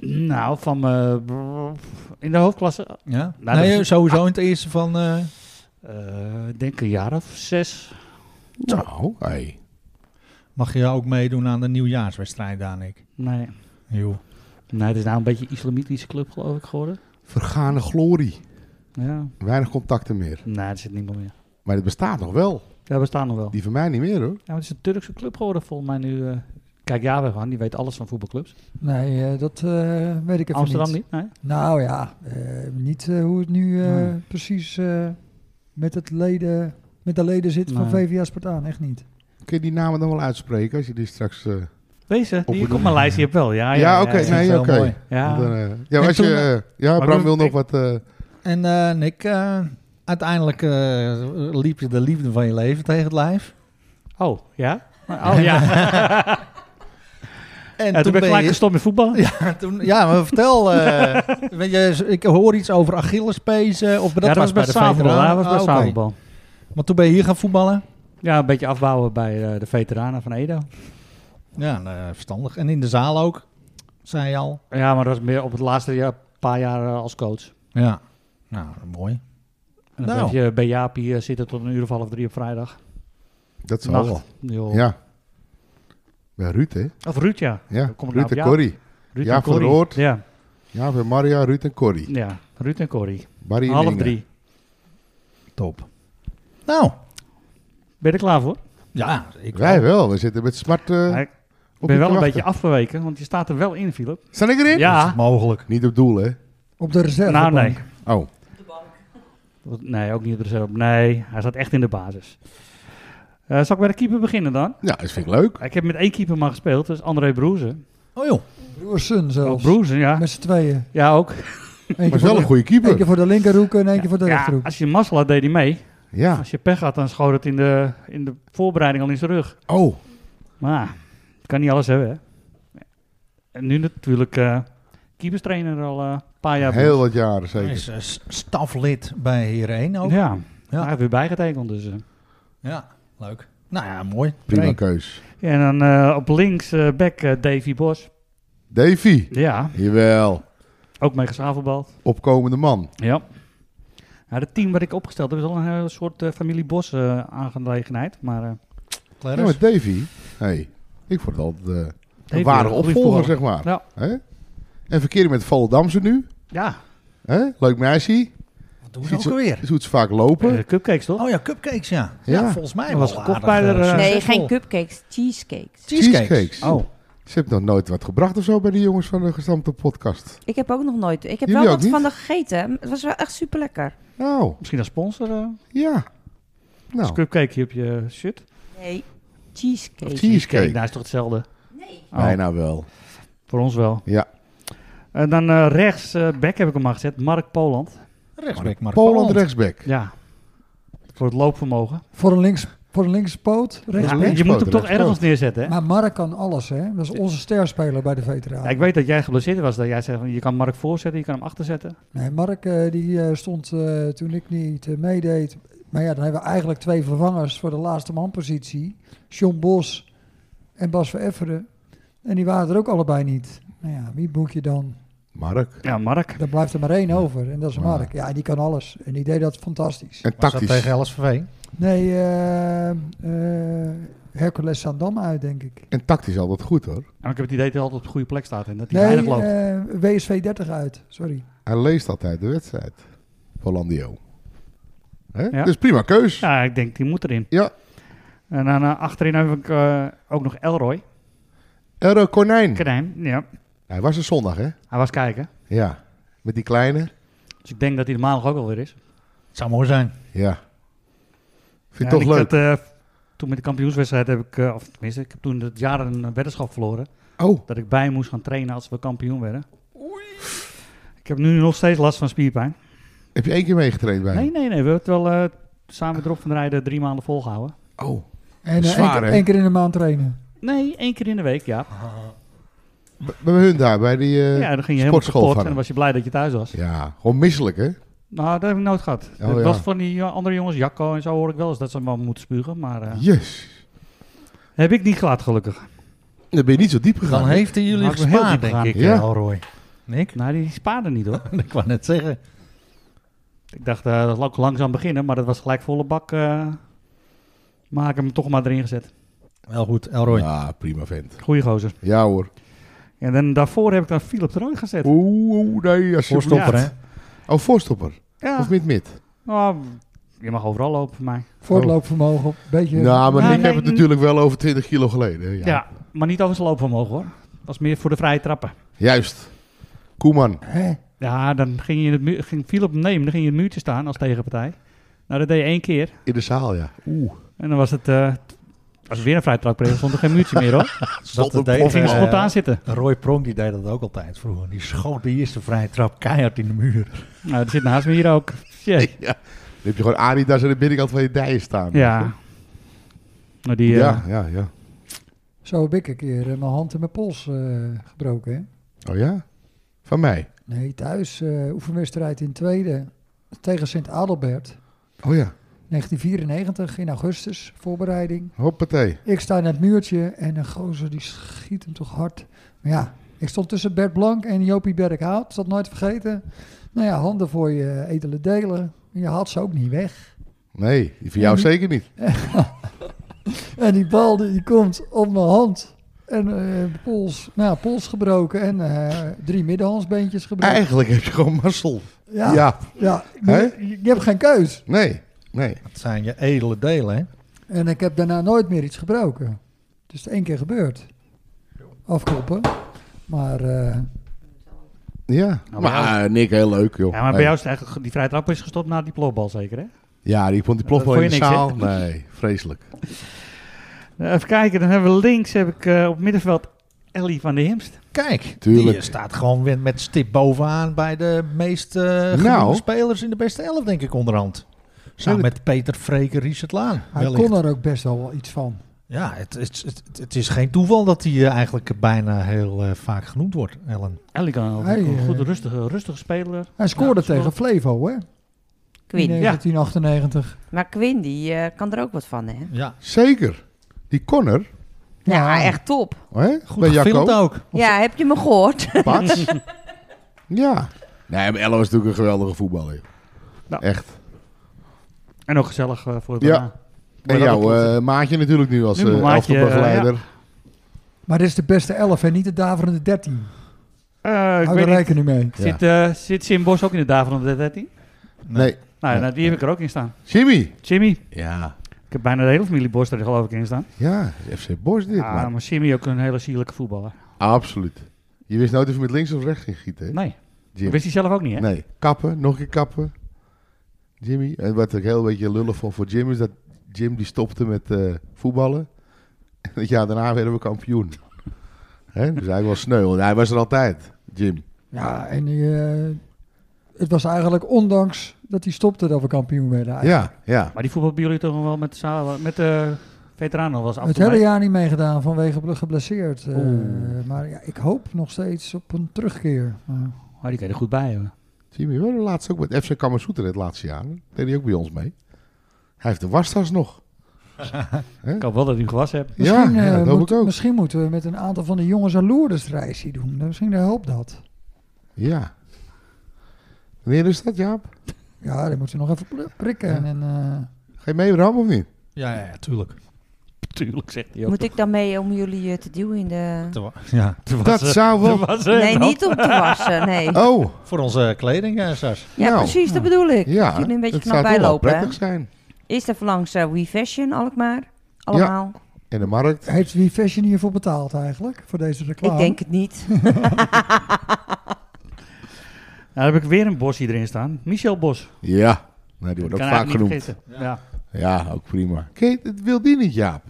Speaker 3: Nou, van... eh, in de hoofdklasse?
Speaker 1: Ja.
Speaker 3: Nou,
Speaker 1: nee,
Speaker 3: dat is-
Speaker 1: sowieso in het eerste van... eh,
Speaker 3: eh, ik denk een jaar of zes.
Speaker 4: Nou, hey.
Speaker 1: mag je ook meedoen aan de nieuwjaarswedstrijd, Danik?
Speaker 3: Nee.
Speaker 1: Jo.
Speaker 3: Nee, het is nou een beetje een islamitische club, geloof ik, geworden.
Speaker 4: Vergane glorie.
Speaker 3: Ja.
Speaker 4: Weinig contacten meer.
Speaker 3: Nee, Nou, er zit niemand meer.
Speaker 4: Maar het bestaat nog wel.
Speaker 3: Ja, we staan nog wel.
Speaker 4: Die van mij niet meer, hoor.
Speaker 3: Ja, maar het is een Turkse club geworden volgens mij nu. eh. kijk, ja, we gaan. Die weet alles van voetbalclubs.
Speaker 5: Nee, eh, dat eh, weet ik even
Speaker 3: Amsterdam
Speaker 5: niet.
Speaker 3: niet. Nee.
Speaker 5: Nou ja, eh, niet eh, hoe het nu eh,
Speaker 3: Nee.
Speaker 5: precies eh, met, het leden, met de leden zit van
Speaker 3: Nee.
Speaker 5: VVA Spartaan. Echt niet.
Speaker 4: Kun je die namen dan wel uitspreken als je die straks... eh,
Speaker 3: Wezen, die
Speaker 4: Opgenomen.
Speaker 3: ik op mijn lijstje heb wel. Ah, Ja,
Speaker 4: Ja,
Speaker 3: ja,
Speaker 4: oké.
Speaker 3: ja.
Speaker 4: nee,
Speaker 1: Heel
Speaker 4: oké.
Speaker 1: mooi.
Speaker 3: Ja.
Speaker 4: Want dan, eh, ja,
Speaker 1: En
Speaker 4: als je,
Speaker 1: toen,
Speaker 4: eh, ja
Speaker 3: maar
Speaker 4: Bram
Speaker 3: toen-
Speaker 4: wil nog
Speaker 3: ik-
Speaker 4: wat... eh,
Speaker 1: En eh, Nick, eh, uiteindelijk eh, liep je de liefde van je leven tegen het lijf.
Speaker 3: Oh, ja? Oh, ja.
Speaker 1: En
Speaker 3: ja toen ben ik gelijk
Speaker 1: je-
Speaker 3: gestopt met voetbal.
Speaker 1: Ja, toen, ja, maar vertel. eh, weet je, ik hoor iets over Achillespees. eh, of dat,
Speaker 3: ja,
Speaker 1: was bij de
Speaker 3: zaalvoetbal.
Speaker 1: veteranen.
Speaker 3: Ja, dat was bij
Speaker 1: Ah, oké.
Speaker 3: zaalvoetbal.
Speaker 1: Maar toen ben je hier gaan voetballen.
Speaker 3: Ja, een beetje afbouwen bij eh, de veteranen van Edo.
Speaker 1: Ja, nou, eh, verstandig. En in de zaal ook, zei je al.
Speaker 3: Ja, maar dat was meer op het laatste jaar, paar jaar eh, als coach.
Speaker 1: Ja. Nou, mooi.
Speaker 3: En dan
Speaker 1: Nou.
Speaker 3: heb je bij Jaapie eh, zitten tot een uur of half drie op vrijdag.
Speaker 4: dat zal
Speaker 3: Nacht.
Speaker 4: wel.
Speaker 3: Joh.
Speaker 4: Ja. Bij Ruud, hè?
Speaker 3: Of Ruud, ja.
Speaker 4: Ja,
Speaker 3: Dan kom ik nou
Speaker 4: Ruud
Speaker 3: op
Speaker 4: en
Speaker 3: jou.
Speaker 4: Corrie.
Speaker 3: Ruud
Speaker 4: Ja,
Speaker 3: en
Speaker 4: voor
Speaker 3: Corrie.
Speaker 4: Roord.
Speaker 3: Ja,
Speaker 4: Ja, bij Maria, Ruud en Corrie.
Speaker 3: ja, Ruud en Corrie.
Speaker 4: Barry en
Speaker 3: half
Speaker 4: Inge.
Speaker 3: drie.
Speaker 1: Top. Nou,
Speaker 3: Ben je er klaar voor?
Speaker 1: ja. Ik
Speaker 4: Wij wel. We zitten met smart eh,
Speaker 3: Ja, Ik
Speaker 4: op je
Speaker 3: ben wel
Speaker 4: te
Speaker 3: een
Speaker 4: wachten.
Speaker 3: beetje afgeweken, want je staat er wel in, Philip.
Speaker 4: Sta ik erin?
Speaker 1: Is
Speaker 3: Ja.
Speaker 1: het mogelijk.
Speaker 4: Niet op doel, hè?
Speaker 5: Op de reserve.
Speaker 3: Nou, nee.
Speaker 4: Oh,
Speaker 3: Wat- Nee, ook niet op de reserve. Nee, hij staat echt in de basis. Eh, zal ik bij de keeper beginnen dan?
Speaker 4: ja, dat vind ik leuk.
Speaker 3: Ik heb met één keeper maar gespeeld, dat is André Broezen.
Speaker 1: Oh joh.
Speaker 5: Broersen
Speaker 3: Oh,
Speaker 5: zelfs.
Speaker 3: Broezen, ja.
Speaker 5: Met z'n tweeën.
Speaker 3: Ja, ook.
Speaker 5: Eentje
Speaker 4: Maar is
Speaker 5: voor
Speaker 4: wel een
Speaker 5: de-
Speaker 4: goede
Speaker 5: Eentje
Speaker 4: keeper.
Speaker 5: voor de linkerhoek en eentje voor de
Speaker 3: Ja,
Speaker 5: rechterhoek.
Speaker 3: als je mazzel had, deed hij mee.
Speaker 4: Ja.
Speaker 3: Als je pech had, dan schoot het in de, in de voorbereiding al in zijn rug.
Speaker 4: Oh,
Speaker 3: Maar het kan niet alles hebben, hè. En nu natuurlijk eh keeperstrainer al eh, een paar jaar.
Speaker 4: heel wat jaren
Speaker 1: Hij
Speaker 4: zeker.
Speaker 1: is eh, s- staflid bij Hierheen ook. Ja.
Speaker 3: Ja, hij heeft weer bijgetekend. Dus, eh.
Speaker 1: leuk. Nou ja, mooi.
Speaker 4: Prima
Speaker 1: Freek.
Speaker 4: keus.
Speaker 3: En dan eh, op links eh back eh, Davy Bos.
Speaker 4: Davy.
Speaker 3: Ja,
Speaker 4: Jawel.
Speaker 3: ook mee gezamenbald.
Speaker 4: Opkomende man.
Speaker 3: Ja. Nou, het team wat ik opgesteld heb is al een eh, soort eh, familie Bos eh, aangelegenheid. Maar eh
Speaker 4: Ja,
Speaker 1: Clarence.
Speaker 4: maar Davy. Hey, ik vond het altijd eh,
Speaker 3: Davy,
Speaker 4: een waardige
Speaker 3: een goede
Speaker 4: opvolger,
Speaker 3: voetballer.
Speaker 4: zeg maar.
Speaker 3: Ja.
Speaker 4: Hè? En verkeering met Volendamse nu.
Speaker 3: ja,
Speaker 4: Hè? Leuk meisje.
Speaker 1: Wat doen ze
Speaker 4: Ziet
Speaker 1: ook alweer?
Speaker 4: Ze doet ze vaak lopen.
Speaker 3: eh, cupcakes toch?
Speaker 1: Oh ja, cupcakes, ja. Ja,
Speaker 4: Ja.
Speaker 1: volgens mij
Speaker 3: Dat was
Speaker 1: wel
Speaker 3: gekocht
Speaker 1: aardig,
Speaker 3: bij de,
Speaker 1: eh,
Speaker 3: eh,
Speaker 1: succesvol.
Speaker 2: Nee, geen cupcakes, cheesecakes.
Speaker 1: Cheesecakes.
Speaker 4: Cheesecakes.
Speaker 1: Oh.
Speaker 4: Ze heeft nog nooit wat gebracht of zo bij de jongens van de gestampte podcast.
Speaker 2: Ik heb ook nog nooit. Ik heb
Speaker 4: Jullie
Speaker 2: wel
Speaker 4: ook
Speaker 2: wat
Speaker 4: niet?
Speaker 2: van haar gegeten. Het was wel echt super lekker.
Speaker 4: Nou,
Speaker 3: Misschien als sponsor. eh
Speaker 4: Oh. ja.
Speaker 3: als
Speaker 4: Nou,
Speaker 3: cupcake op je shirt.
Speaker 2: Nee, cheesecake.
Speaker 4: Of cheesecake.
Speaker 3: Nou, is toch hetzelfde? Nee.
Speaker 4: bijna wel.
Speaker 3: Voor ons wel.
Speaker 4: Ja.
Speaker 3: En dan eh, rechts, eh back heb ik hem aangezet, Mark Poland.
Speaker 1: Rechtsback Mark
Speaker 4: Poland rechtsback.
Speaker 3: Ja. Voor het loopvermogen.
Speaker 5: Voor een, links, voor een linkspoot, rechts.
Speaker 3: Ja,
Speaker 4: linkspoot,
Speaker 3: je moet hem toch
Speaker 4: rechtspoot.
Speaker 3: ergens neerzetten, hè?
Speaker 5: Maar Mark kan alles, hè? Dat is onze sterspeler bij de veteranen.
Speaker 3: Ja, ik weet dat jij geblesseerd was. Dat jij zei, van, je kan Mark voorzetten, je kan hem achterzetten.
Speaker 5: Nee, Mark eh, die eh, stond eh, toen ik niet eh, meedeed. Maar ja, dan hebben we eigenlijk twee vervangers voor de laatste manpositie. John Bos en Bas van Efferen. En die waren er ook allebei niet. Nou ja, wie boek je dan?
Speaker 4: Mark.
Speaker 3: Ja, Mark.
Speaker 5: Dan blijft er maar één over. En dat is
Speaker 4: Ja.
Speaker 5: Mark. Ja, die kan alles. En die deed dat fantastisch.
Speaker 4: En
Speaker 1: Was dat
Speaker 4: tactisch.
Speaker 1: tegen LSV.
Speaker 5: Nee, eh eh Hercules Sandam uit, denk ik.
Speaker 4: En tactisch altijd goed hoor.
Speaker 3: En ik heb het idee dat hij altijd op de goede plek staat en dat hij
Speaker 5: Nee,
Speaker 3: weinig loopt.
Speaker 5: eh, WSV 30 uit. Sorry.
Speaker 4: Hij leest altijd de wedstrijd. Hollandio. Hè?
Speaker 3: Ja.
Speaker 4: Dus prima keus.
Speaker 3: Ja, ik denk, die moet erin.
Speaker 4: Ja.
Speaker 3: En dan eh, achterin heb ik eh, ook nog Elroy.
Speaker 4: Erro Konijn.
Speaker 3: Knijn, ja.
Speaker 4: Hij was er zondag hè?
Speaker 3: Hij was kijken.
Speaker 4: Ja. Met die kleine.
Speaker 3: Dus ik denk dat hij de maandag ook wel weer is.
Speaker 1: Het zou mooi zijn.
Speaker 4: Ja. Vind
Speaker 3: Ja,
Speaker 4: ik
Speaker 3: en
Speaker 4: toch leuk.
Speaker 3: ik had, eh, toen met de kampioenswedstrijd heb ik, eh, of tenminste, ik heb toen het jaar een eh, weddenschap verloren.
Speaker 4: Oh,
Speaker 3: Dat ik bij moest gaan trainen als we kampioen werden. Ik heb nu nog steeds last van spierpijn.
Speaker 4: heb je één keer meegetraind bij hem?
Speaker 3: Nee, nee, nee. We hebben het wel eh, samen met Rob van der Rijden drie maanden volgehouden.
Speaker 4: Oh.
Speaker 5: En eh,
Speaker 4: Zwaar,
Speaker 5: één, keer-
Speaker 4: hè?
Speaker 5: één keer in de maand trainen.
Speaker 3: Nee, één keer in de week, ja.
Speaker 4: Bij bij hun daar, bij die eh,
Speaker 3: ja, dan ging je helemaal
Speaker 4: sportschool
Speaker 3: kapot en
Speaker 4: van
Speaker 3: dan
Speaker 4: hem.
Speaker 3: was je blij dat je thuis was.
Speaker 4: Ja, gewoon misselijk hè?
Speaker 3: Nou, dat heb ik nooit gehad. dat
Speaker 4: Oh, ja.
Speaker 3: was van die eh, andere jongens, Jacco en zo hoor ik wel eens dat ze hem wel moeten spugen. Maar eh,
Speaker 4: Yes.
Speaker 3: heb ik niet gehad, gelukkig.
Speaker 4: Dan ben je niet zo diep gegaan.
Speaker 1: Dan
Speaker 4: hè?
Speaker 1: heeft hij jullie
Speaker 3: Nou, ik ben heel
Speaker 1: gespaard,
Speaker 3: diep
Speaker 1: denk
Speaker 3: gegaan.
Speaker 1: ik,
Speaker 4: Ja.
Speaker 1: eh, Alroy. Nick?
Speaker 3: Nou, die spaarden niet hoor.
Speaker 1: ik wou net zeggen.
Speaker 3: Ik dacht, eh, dat ook langzaam beginnen, maar dat was gelijk volle bak. eh, maar ik heb hem toch maar erin gezet.
Speaker 1: Wel goed, Elroy.
Speaker 4: Ja, Ah, prima vent.
Speaker 3: Goeie gozer.
Speaker 4: Ja hoor.
Speaker 3: En dan daarvoor heb ik dan Philip de Roy gezet.
Speaker 4: Oeh, oeh, nee, alsjeblieft.
Speaker 1: Voorstopper,
Speaker 3: ja.
Speaker 1: hè?
Speaker 4: Oh, voorstopper.
Speaker 3: Ja,
Speaker 4: Of mid-mid?
Speaker 3: nou, je mag overal lopen voor mij.
Speaker 5: Voortloopvermogen, beetje...
Speaker 4: Nou, maar
Speaker 3: Ja,
Speaker 4: ik
Speaker 3: nee,
Speaker 4: heb het
Speaker 3: n-
Speaker 4: natuurlijk wel over 20 kilo geleden.
Speaker 3: Ja,
Speaker 4: Ja.
Speaker 3: maar niet over zijn loopvermogen hoor. Dat was meer voor de vrije trappen.
Speaker 4: Juist. Koeman.
Speaker 5: Hè?
Speaker 3: Ja, dan ging, je het mu- ging Philip hem nemen, dan ging je in het muurtje staan als tegenpartij. Nou, dat deed je één keer.
Speaker 4: In de zaal, ja. Oeh.
Speaker 3: En dan was het, eh, als we weer een vrije trap kregen, stond er geen muurtje meer hoor.
Speaker 1: Dat
Speaker 4: een
Speaker 1: deed,
Speaker 3: Of ging
Speaker 1: eh,
Speaker 3: spontaan zitten.
Speaker 1: Roy Pronk die deed dat ook altijd vroeger. Die schoot de eerste vrije trap keihard in de muur.
Speaker 3: Nou, die zit naast me hier ook. Shit.
Speaker 4: Dan heb je gewoon Adidas aan de binnenkant van je dijen staan.
Speaker 3: Ja. Maar die, eh,
Speaker 4: Ja, ja, ja.
Speaker 5: Zo heb ik een keer eh, mijn hand en mijn pols eh, gebroken. Hè?
Speaker 4: Oh ja? Van mij.
Speaker 5: Nee, thuis. eh oefenwedstrijd in tweede tegen Sint Adelbert.
Speaker 4: Oh ja.
Speaker 5: 1994 in augustus, voorbereiding.
Speaker 4: Hoppatee.
Speaker 5: Ik sta in het muurtje en een gozer die schiet hem toch hard. Maar ja, ik stond tussen Bert Blank en Jopie Berkhout. Dat nooit vergeten. Nou ja, handen voor je edele delen. Je haalt ze ook niet weg.
Speaker 4: Nee, die van jou
Speaker 3: Mhm.
Speaker 5: Ja, die-
Speaker 4: zeker niet.
Speaker 5: En die bal die die komt op mijn hand. En eh, pols, nou, pols gebroken en eh, drie middenhandsbeentjes gebroken.
Speaker 4: Eigenlijk heb je gewoon mazzel. Ja.
Speaker 5: Ja,
Speaker 4: Hè?
Speaker 5: je, je hebt geen keus.
Speaker 4: Nee, nee.
Speaker 1: Dat zijn je edele delen, hè?
Speaker 5: En ik heb daarna nooit meer iets gebroken. Het is één keer gebeurd. Afkoppen. Maar eh,
Speaker 4: Ja.
Speaker 3: Nou, bij
Speaker 4: maar eh, Nick, heel leuk, joh.
Speaker 3: ja, maar bij
Speaker 4: Hey.
Speaker 3: jou is het eigenlijk, die vrije trap is gestopt na die plofbal zeker hè?
Speaker 4: Ja, die vond die plof
Speaker 3: Dat
Speaker 4: wel in
Speaker 3: vond
Speaker 4: de
Speaker 3: je niks,
Speaker 4: zaal. Nee, vreselijk.
Speaker 3: Eh, Even kijken, dan hebben we links heb ik eh, op middenveld Ellie van de Himst.
Speaker 1: Kijk,
Speaker 4: Tuurlijk.
Speaker 1: die eh, staat gewoon weer met stip bovenaan bij de meest eh genoemde
Speaker 4: Nou.
Speaker 1: spelers in de beste elf, denk ik, onderhand. Samen met Peter Freken, Richard Laan.
Speaker 5: hij
Speaker 1: wellicht.
Speaker 5: kon er ook best wel iets van.
Speaker 1: Ja, het, het, het, het is geen toeval dat hij eh, eigenlijk bijna heel eh, vaak genoemd wordt, Ellen.
Speaker 3: Ellie kan ook
Speaker 5: Hij,
Speaker 3: een
Speaker 5: eh,
Speaker 3: goed rustige, rustige speler.
Speaker 5: Hij scoorde
Speaker 3: Ja,
Speaker 5: tegen Flevo, hè?
Speaker 2: Quinn.
Speaker 5: In
Speaker 3: Ja.
Speaker 5: 1998.
Speaker 2: Maar Quinn, die eh, kan er ook wat van, hè?
Speaker 1: Ja,
Speaker 4: Zeker. Die Connor,
Speaker 2: Ja, echt top.
Speaker 4: hè?
Speaker 1: goed
Speaker 4: bij
Speaker 1: gefilmd
Speaker 4: Jacco.
Speaker 1: ook.
Speaker 2: Ja, heb je me gehoord?
Speaker 4: Pats. ja. Nee, maar Ellen was natuurlijk een geweldige voetballer.
Speaker 3: Nou.
Speaker 4: Echt.
Speaker 3: En ook gezellig eh, voor het
Speaker 4: Ja.
Speaker 3: daarna.
Speaker 4: En
Speaker 3: Maar dat
Speaker 4: jouw
Speaker 3: klopt.
Speaker 4: eh, maatje natuurlijk nu als
Speaker 3: Nu mijn
Speaker 4: eh
Speaker 3: maatje,
Speaker 4: elftalbegeleider.
Speaker 5: Maar dit is de beste 11 en niet de daverende 13.
Speaker 3: Eh, ik
Speaker 5: Hou
Speaker 3: weet
Speaker 5: er
Speaker 3: niet,
Speaker 5: rekening mee.
Speaker 4: Ja.
Speaker 3: Zit, eh zit Sim Bos ook in de Daveren van de 13?
Speaker 4: Nee.
Speaker 3: Nou, ja,
Speaker 4: Ja.
Speaker 3: nou, die heb ik er ook in staan.
Speaker 4: Jimmy.
Speaker 3: Jimmy.
Speaker 4: Ja.
Speaker 3: Ik heb bijna de hele familie Bos er geloof ik in staan.
Speaker 4: Ja, FC Bos dit,
Speaker 3: ah,
Speaker 4: man.
Speaker 3: maar Jimmy ook een hele sierlijke voetballer.
Speaker 4: Absoluut. Je wist nooit of je met links of rechts ging gieten, hè?
Speaker 3: Nee,
Speaker 4: Jim.
Speaker 3: wist hij zelf ook niet, hè?
Speaker 4: Nee, kappen, nog een keer kappen. Jimmy. En wat ik heel een beetje lullig vond voor Jim is dat Jim die stopte met eh, voetballen. En het jaar daarna werden we kampioen. Hè? Dus hij was sneu, want hij was er altijd, Jim.
Speaker 5: Ja, en eh, het was eigenlijk ondanks dat hij stopte dat we kampioen werden.
Speaker 3: Ah,
Speaker 5: eigenlijk.
Speaker 4: Ja, ja.
Speaker 3: Maar die voetbal bij jullie toch nog wel met, de zaal- met de veteranen was af en
Speaker 5: Het
Speaker 3: toe
Speaker 5: hele
Speaker 3: mee.
Speaker 5: jaar niet meegedaan vanwege ble- geblesseerd. eh,
Speaker 3: Oeh.
Speaker 5: maar ja, ik hoop nog steeds op een terugkeer. Maar
Speaker 3: Maar die kreeg er goed bij, hoor.
Speaker 4: Jimmy, we de laatst ook met FC Kammersoeter het laatste jaar. Deed hij ook bij ons mee. Hij heeft de wastas nog.
Speaker 3: Ik hoop wel dat u hem gewassen hebt.
Speaker 5: misschien,
Speaker 4: ja,
Speaker 5: eh,
Speaker 4: dat hoop
Speaker 5: moet-
Speaker 4: ik ook.
Speaker 5: misschien moeten we met een aantal van de jongens een Lourdes-reisje doen. Dan Misschien helpt dat.
Speaker 4: Ja. Wanneer is dat, Jaap?
Speaker 5: Ja, die moeten we nog even pri- prikken.
Speaker 4: Ja.
Speaker 5: En, eh,
Speaker 4: Ga je mee, Bram, of niet?
Speaker 1: Ja, ja, ja, tuurlijk.
Speaker 3: Tuurlijk, zegt hij ook.
Speaker 2: Moet ik dan mee om jullie eh, te duwen in de...
Speaker 1: Te wa- Ja,
Speaker 3: Te
Speaker 4: Dat
Speaker 3: wassen.
Speaker 4: zou wel...
Speaker 3: Te wassen,
Speaker 2: Nee,
Speaker 3: Bram.
Speaker 2: niet om te wassen, nee.
Speaker 4: Oh,
Speaker 1: voor onze kleding, eh, Sas.
Speaker 2: Ja,
Speaker 4: nou.
Speaker 2: precies, dat bedoel ik.
Speaker 4: ja.
Speaker 2: jullie een beetje
Speaker 4: dat
Speaker 2: knap
Speaker 4: zou toch wel
Speaker 2: bijlopen, hè?
Speaker 4: prettig zijn.
Speaker 2: Eerst even langs eh, We Fashion, Alkmaar. Allemaal.
Speaker 4: En de markt.
Speaker 5: heeft wie Fashion hiervoor betaald eigenlijk? Voor deze reclame?
Speaker 2: Ik denk het niet.
Speaker 3: Nou, dan heb ik weer een Bos hierin staan. Michel Bos.
Speaker 4: Ja, nou, die wordt
Speaker 3: Kan
Speaker 4: ook vaak
Speaker 3: eigenlijk
Speaker 4: genoemd.
Speaker 3: niet vergeten. Ja.
Speaker 4: Ja, ook prima. Kijk, dat wil die niet, Jaap.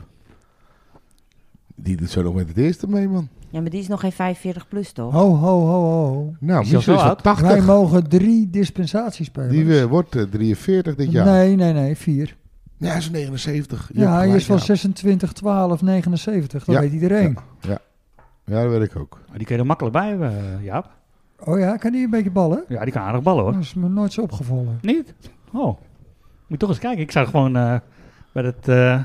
Speaker 4: Die doet zo nog met het eerste mee, man.
Speaker 2: Ja, maar die is nog geen 45 plus, toch?
Speaker 4: Oh.
Speaker 5: Ho, ho, ho, ho.
Speaker 4: Nou,
Speaker 3: Die is al
Speaker 4: Michel is
Speaker 3: zo
Speaker 4: al
Speaker 3: oud.
Speaker 4: 80.
Speaker 5: Wij mogen drie dispensatiespelers.
Speaker 4: die eh, wordt eh, 43 dit jaar.
Speaker 5: Nee, nee, nee, vier.
Speaker 4: Ja, hij is 79. Je hebt
Speaker 5: Ja, hij
Speaker 4: gelijk,
Speaker 5: is van
Speaker 4: Jaap.
Speaker 5: 26, 12, 79. Dat
Speaker 4: Ja.
Speaker 5: weet iedereen.
Speaker 4: Ja, dat weet ik ook.
Speaker 3: Maar Die kun je er makkelijk bij hebben, eh, Jaap.
Speaker 5: Oh ja, kan die een beetje ballen?
Speaker 3: Ja, die kan aardig ballen, hoor.
Speaker 5: Dat is me nooit zo opgevallen.
Speaker 3: Niet? Oh. Moet toch eens kijken. Ik zou gewoon eh, bij het eh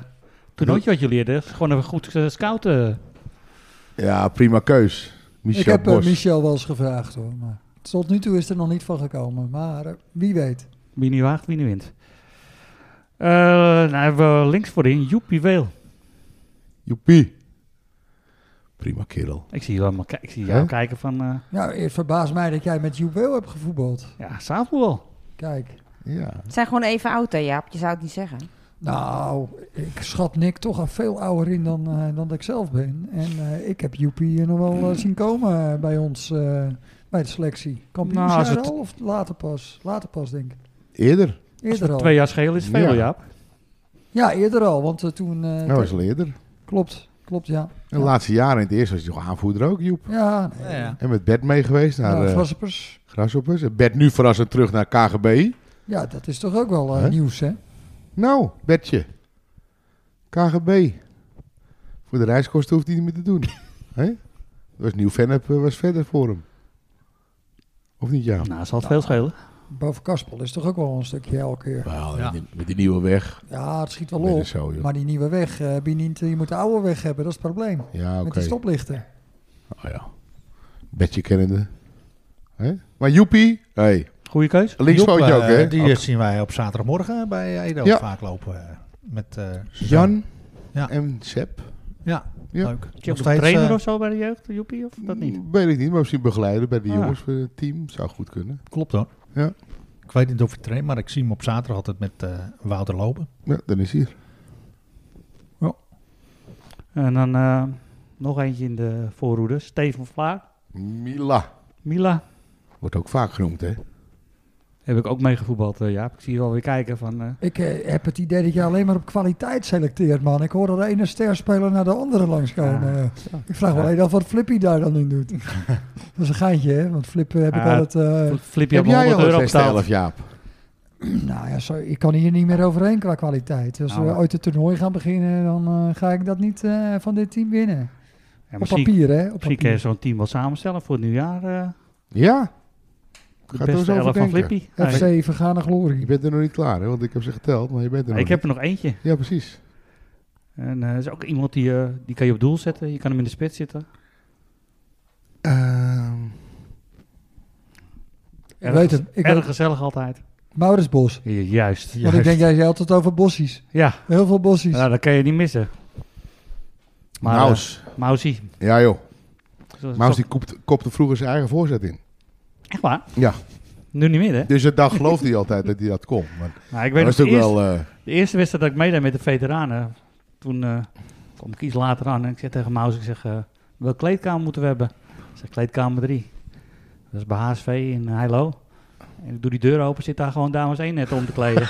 Speaker 3: toernooitje wat jullie hadden, gewoon even goed eh, scouten.
Speaker 4: Ja, prima keus. Michel
Speaker 5: ik heb eh,
Speaker 4: Bos.
Speaker 5: Michel wel eens gevraagd hoor. Maar tot nu toe is er nog niet van gekomen. Maar eh, wie weet.
Speaker 3: Wie nu waagt, wie nu wint. Eh nou hebben we links voorin Joepie Weel.
Speaker 4: Joepie. Prima kerel.
Speaker 3: Ik zie, jou, maar kijk- ik zie jou
Speaker 4: Hè?
Speaker 3: kijken van... eh,
Speaker 5: Nou, het verbaast mij dat jij met Juweel hebt gevoetbald.
Speaker 3: ja, zaterdag
Speaker 5: Kijk.
Speaker 4: Ja.
Speaker 2: Ze zijn gewoon even oud, hè, Jaap? Je zou het niet zeggen.
Speaker 5: Nou, ik schat Nick toch al veel ouder in dan, eh, dan dat ik zelf ben. En eh, ik heb Joepie eh, nog wel eh, zien komen eh, bij ons, eh, bij de selectie. Kampioensjaar
Speaker 3: Nou, als het-
Speaker 5: al of later pas? Later pas, denk ik.
Speaker 4: Eerder.
Speaker 5: Eerder al.
Speaker 3: Twee jaar schelen is veel,
Speaker 4: Ja.
Speaker 3: Jaap.
Speaker 5: Ja, eerder al, want eh, toen... eh,
Speaker 4: Nou, is al eerder. En
Speaker 5: Klopt, klopt, ja.
Speaker 4: de
Speaker 5: Ja.
Speaker 4: laatste jaren in het eerste was hij nog aanvoerder ook, Joep.
Speaker 5: Ja, nee.
Speaker 1: Ja, ja.
Speaker 4: En met Bert mee geweest naar
Speaker 5: Nou,
Speaker 4: eh,
Speaker 5: Grasshoppers.
Speaker 4: Grasshoppers. En Bert nu verrassend terug naar KGB.
Speaker 5: Ja, dat is toch ook wel eh,
Speaker 4: Hè?
Speaker 5: nieuws, hè?
Speaker 4: Nou, Bertje. KGB. Voor de reiskosten hoeft hij niet meer te doen. Hè? Dat was nieuw Vennep eh, was verder voor hem. Of niet, ja?
Speaker 3: Nou, zal het veel schelen.
Speaker 5: Boven Kaspel is toch ook wel een stukje elke keer.
Speaker 4: Wel,
Speaker 1: Ja.
Speaker 4: die- met die nieuwe weg.
Speaker 5: Ja, het schiet wel
Speaker 4: Met
Speaker 5: op.
Speaker 4: de zo, joh.
Speaker 5: Maar die nieuwe weg, eh, heb je niet, je moet de oude weg hebben, dat is het probleem.
Speaker 4: Ja, oké.
Speaker 5: Met die stoplichten.
Speaker 4: Oh, ja. Bertje kennende. Hè? Maar Joepie, hey,
Speaker 3: Goeie keus.
Speaker 4: linkspootje
Speaker 1: Joep,
Speaker 4: ook,
Speaker 1: eh,
Speaker 4: hè?
Speaker 1: Die
Speaker 4: Ook.
Speaker 1: eh, zien wij op zaterdagmorgen bij Edo
Speaker 4: Ja.
Speaker 1: vaak lopen. eh, met eh, Suzanne.
Speaker 4: Jan
Speaker 1: Ja.
Speaker 4: en Sepp.
Speaker 1: Ja,
Speaker 4: Ja.
Speaker 1: leuk.
Speaker 3: Heb je
Speaker 1: Nog
Speaker 3: ook een
Speaker 1: steeds,
Speaker 3: trainer
Speaker 1: eh,
Speaker 3: of zo bij de jeugd, Joepie, of dat niet?
Speaker 4: Mm, Weet ik niet, maar misschien begeleiden bij de
Speaker 3: Ah.
Speaker 4: jongens van het team. Zou goed kunnen.
Speaker 1: Klopt hoor.
Speaker 4: Ja.
Speaker 1: Ik weet niet of hij traint, maar ik zie hem op zaterdag altijd met eh, Wouter lopen.
Speaker 4: Ja, dan is hij er.
Speaker 3: En dan eh, nog eentje in de voorhoede. Steven Vlaar.
Speaker 4: Mila.
Speaker 3: Mila.
Speaker 4: Wordt ook vaak genoemd, hè?
Speaker 3: Heb ik ook meegevoetbald, eh, Jaap. Ik zie je wel weer kijken van... eh,
Speaker 5: Ik eh, heb het idee dat je alleen maar op kwaliteit selecteert, man. Ik hoor dat de ene sterspeler naar de andere langskomen.
Speaker 3: Ja.
Speaker 5: eh. Ik vraag wel even af wat Flippy daar dan in doet. dat is een geintje, hè? Want Flip eh, heb ik
Speaker 3: Ja,
Speaker 5: altijd... eh,
Speaker 3: Flip, je
Speaker 4: Heb
Speaker 3: hebt me
Speaker 4: jij
Speaker 3: 100
Speaker 4: al
Speaker 3: euro
Speaker 4: een zesde
Speaker 3: betaald.
Speaker 4: elf, Jaap?
Speaker 5: nou ja, zo, ik kan hier niet meer overheen qua kwaliteit. Als
Speaker 3: Nou,
Speaker 5: we
Speaker 3: maar-
Speaker 5: ooit het toernooi gaan beginnen, dan eh, ga ik dat niet eh, van dit team winnen.
Speaker 3: Ja,
Speaker 5: op
Speaker 3: misschien
Speaker 5: papier, hè? Op
Speaker 3: misschien kun je
Speaker 5: papier.
Speaker 3: zo'n team wel samenstellen voor het nieuwjaar. eh
Speaker 4: Ja,
Speaker 3: de
Speaker 4: Gaat er eens
Speaker 3: beste
Speaker 4: over
Speaker 3: elf van
Speaker 4: denken.
Speaker 3: Flippy. Nee,
Speaker 5: FC Vergane
Speaker 4: je
Speaker 5: Glorie.
Speaker 4: bent er nog niet klaar, hè? Want ik heb ze geteld, maar je bent er nog
Speaker 3: Ah, ik heb
Speaker 4: niet.
Speaker 3: er nog eentje.
Speaker 4: Ja, precies.
Speaker 3: En eh er is ook iemand die, eh, die kan je op doel zetten. Je kan hem in de spits zitten. Ehm,
Speaker 5: Ik weet hem. Ik
Speaker 3: erg
Speaker 5: weet
Speaker 3: gezellig altijd.
Speaker 5: Maurits Bos.
Speaker 3: Ja, juist.
Speaker 5: Want ik denk, jij zei altijd over bossies.
Speaker 3: Ja,
Speaker 5: Heel veel bossies.
Speaker 3: nou, dat kan je niet missen. Maar, eh,
Speaker 4: Maus.
Speaker 3: Mausie.
Speaker 4: ja joh,
Speaker 3: Dat is
Speaker 4: Maus
Speaker 3: toch-
Speaker 4: die kopt- kopte vroeger zijn eigen voorzet in.
Speaker 3: Echt waar?
Speaker 4: Ja,
Speaker 3: Nu niet meer, hè?
Speaker 4: Dus dat, dan geloofde hij altijd dat hij dat kon. Maar
Speaker 3: Nou, ik
Speaker 4: dat
Speaker 3: weet
Speaker 4: was
Speaker 3: nog,
Speaker 4: natuurlijk
Speaker 3: de,
Speaker 4: wel... eh,
Speaker 3: eerste, de eerste wedstrijd dat ik meedeed met de veteranen, toen eh, kwam ik iets later aan en ik zei tegen Maus, ik zeg, eh welke kleedkamer moeten we hebben? Ik zeg, kleedkamer 3. Dat is bij HSV in Heilo. En ik doe die deur open, zit daar gewoon dames 1 net om te kleden.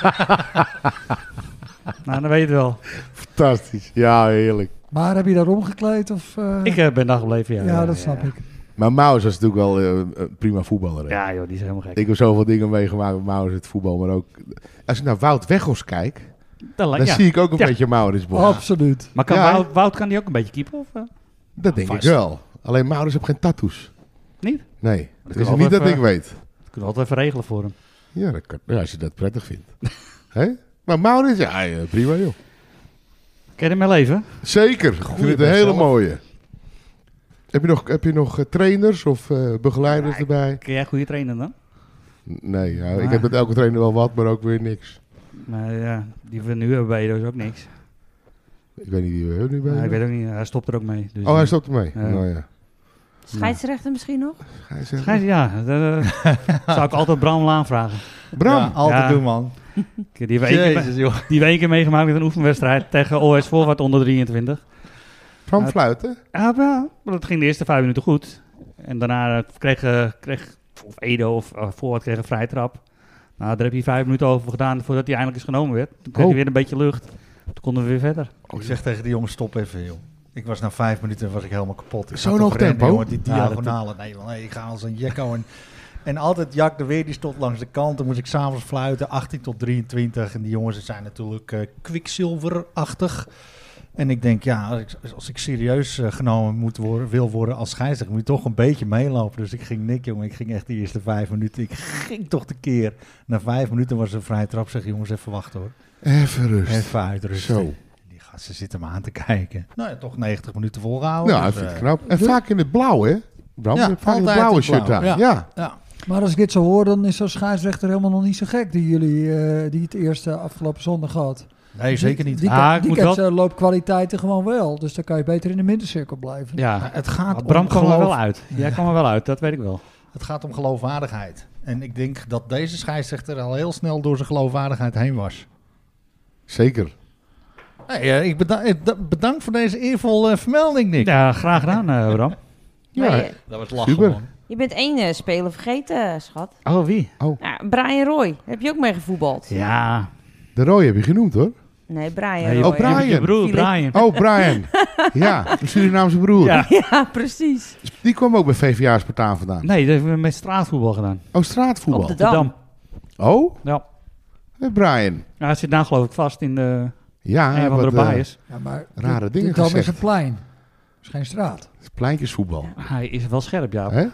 Speaker 3: nou, dan weet je het wel.
Speaker 4: fantastisch. Ja, heerlijk.
Speaker 5: Maar heb je daar omgekleed? Of, eh,
Speaker 3: Ik eh, ben daar gebleven, ja.
Speaker 5: ja, dat snap ik.
Speaker 4: Maar Maus was natuurlijk wel eh, een prima voetballer. hè?
Speaker 3: Ja, joh, die is helemaal gek.
Speaker 4: Ik heb zoveel dingen meegemaakt met Maurits het voetbal, maar ook... Als ik naar Wout Weghorst kijk,
Speaker 3: dat
Speaker 4: dan
Speaker 3: lijkt- ja.
Speaker 4: zie ik ook een
Speaker 3: Ja.
Speaker 4: beetje Maurits Bos.
Speaker 5: Absoluut.
Speaker 3: Maar kan
Speaker 4: Ja,
Speaker 3: Wout, Wout kan die ook een beetje keeper? Of, eh?
Speaker 4: Dat denk
Speaker 3: Vast.
Speaker 4: ik wel. Alleen Maurits heeft geen tattoos.
Speaker 3: Niet?
Speaker 4: Nee,
Speaker 3: Dat
Speaker 4: dat
Speaker 3: kan
Speaker 4: is
Speaker 3: wel
Speaker 4: niet dat
Speaker 3: even-
Speaker 4: ik weet.
Speaker 3: Dat kunnen we altijd even regelen voor hem.
Speaker 4: Ja, dat kan, ja, als je dat prettig vindt. Hè? Maar Maurits, ja, ja, prima joh.
Speaker 3: Ken je hem wel even?
Speaker 4: Zeker, ik vind het een
Speaker 3: best
Speaker 4: hele
Speaker 3: zelf.
Speaker 4: mooie. Heb je nog, heb je nog eh, trainers of eh, begeleiders
Speaker 3: Nee.
Speaker 4: erbij?
Speaker 3: Kun jij een goede trainer dan?
Speaker 4: Nee, ja,
Speaker 3: Ah.
Speaker 4: ik heb met elke trainer wel wat, maar ook weer niks.
Speaker 3: Maar ja, die van nu hebben bij dus ook niks.
Speaker 4: Ik weet niet wie we hebben nu bij.
Speaker 3: Maar ik
Speaker 4: hebben.
Speaker 3: weet ook niet, hij stopt er ook mee. Dus
Speaker 4: oh, hij stopt ermee.
Speaker 3: Ja.
Speaker 4: Nou ja.
Speaker 2: Scheidsrechter misschien nog?
Speaker 4: Hij zegt,
Speaker 3: Schijnt- ja, dat eh, zou ik altijd Bram Laan vragen.
Speaker 4: Bram,
Speaker 1: Ja, altijd
Speaker 3: Ja.
Speaker 1: doen, man.
Speaker 3: Ik- Die hebben één keer,
Speaker 1: Jezus, joh.
Speaker 3: die hebben één keer meegemaakt met een oefenwedstrijd tegen OS Voorwaarts onder 23.
Speaker 4: Bram
Speaker 3: Ja.
Speaker 4: fluiten.
Speaker 3: Ja, maar dat ging de eerste vijf minuten goed. En daarna eh, kreeg, eh, kreeg of Edo of eh, Voorwaarts kreeg een vrij trap. Nou, daar heb je vijf minuten over gedaan voordat hij eindelijk eens genomen werd. Toen kreeg
Speaker 4: Oh.
Speaker 3: hij weer een beetje lucht. Toen konden we weer verder.
Speaker 1: Ik zeg tegen die jongen, stop even, joh. Ik was na vijf minuten was ik helemaal kapot. Ik
Speaker 4: Zo'n
Speaker 1: zat toch
Speaker 4: hoog
Speaker 1: rennen,
Speaker 4: tempo?
Speaker 1: jongen, die
Speaker 3: Ja, dat-
Speaker 1: diagonale. Nee, man, nee, ik ga als een jekko. En, en altijd Jack de Weer, die stond langs de kant. Dan moest ik s'avonds fluiten, 18 tot 23. En die jongens die zijn natuurlijk eh kwikzilverachtig. En ik denk, ja, als ik, als ik serieus eh, genomen moet worden, wil worden als scheidsrechter, moet je toch een beetje meelopen. Dus ik ging niks, jongen. Ik ging echt die eerste vijf minuten. Ik ging toch de keer. Na vijf minuten was er een vrije trap. Zeg, jongens, even wachten hoor.
Speaker 4: Even rust.
Speaker 1: Even uitrusten.
Speaker 4: Zo.
Speaker 1: Die gasten zitten me aan te kijken. Nou ja, toch 90 minuten volgehouden.
Speaker 4: Ja, dat
Speaker 1: Dus,
Speaker 4: vind ik
Speaker 1: eh,
Speaker 4: Nou, knap. En vaak in het blauw, hè? Bram,
Speaker 1: Ja,
Speaker 4: je hebt vaak in
Speaker 1: altijd
Speaker 4: het blauwe
Speaker 1: in het
Speaker 4: shirt
Speaker 1: blauw,
Speaker 4: aan.
Speaker 1: ja.
Speaker 4: Ja.
Speaker 1: ja.
Speaker 5: Maar als ik dit zo hoor, dan is zo'n scheidsrechter helemaal nog niet zo gek die jullie eh, die het eerste afgelopen zondag had.
Speaker 1: Nee, zeker niet.
Speaker 5: Die, die,
Speaker 3: Ah,
Speaker 5: kan-
Speaker 3: ik
Speaker 5: die
Speaker 3: moet
Speaker 5: kent
Speaker 3: wel-
Speaker 5: zijn loopkwaliteiten gewoon wel. Dus dan kan je beter in de middencirkel blijven.
Speaker 3: Ja,
Speaker 1: Maar het, gaat
Speaker 3: Maar Bram
Speaker 1: om
Speaker 3: kwam er
Speaker 1: geloof-
Speaker 3: wel uit. Jij kwam er wel uit, dat weet ik wel.
Speaker 1: het gaat om geloofwaardigheid. En ik denk dat deze scheidsrechter al heel snel door zijn geloofwaardigheid heen was.
Speaker 4: Zeker.
Speaker 1: Hey, eh, ik beda- eh, da- bedankt voor deze eervolle eh, vermelding, Nick.
Speaker 3: Ja, graag gedaan, eh, Bram.
Speaker 4: Ja.
Speaker 2: Maar je,
Speaker 1: Dat wordt
Speaker 4: lachen, Super. man.
Speaker 2: je bent één eh, speler vergeten, schat.
Speaker 3: Oh, wie?
Speaker 2: Ja, Brian Roy, heb je ook mee gevoetbald?
Speaker 3: Ja.
Speaker 4: De rode heb je genoemd, hoor.
Speaker 2: Nee, Brian
Speaker 3: Nee,
Speaker 2: Roy.
Speaker 4: Oh, Brian.
Speaker 3: Je broer, Brian.
Speaker 4: Oh, Brian. ja, de Surinaamse broer.
Speaker 3: Ja.
Speaker 2: Ja, precies.
Speaker 4: Die kwam ook bij VVA Spartaan vandaan.
Speaker 3: Nee, dat hebben we met straatvoetbal gedaan.
Speaker 4: Oh,
Speaker 2: Op
Speaker 4: straatvoetbal.
Speaker 2: de Dam.
Speaker 4: Oh,
Speaker 3: Ja.
Speaker 4: eh, Brian.
Speaker 3: Ja, hij zit nou geloof ik vast in de,
Speaker 4: Ja,
Speaker 3: een
Speaker 4: hij
Speaker 3: van de
Speaker 4: had, eh,
Speaker 3: bias.
Speaker 5: Ja, maar
Speaker 4: Rare
Speaker 5: dit-
Speaker 4: dingen
Speaker 5: dit dan
Speaker 4: gezegd.
Speaker 5: is een plein. is geen straat.
Speaker 4: het is pleintjesvoetbal.
Speaker 3: Hij is wel scherp, ja.
Speaker 4: Hè? En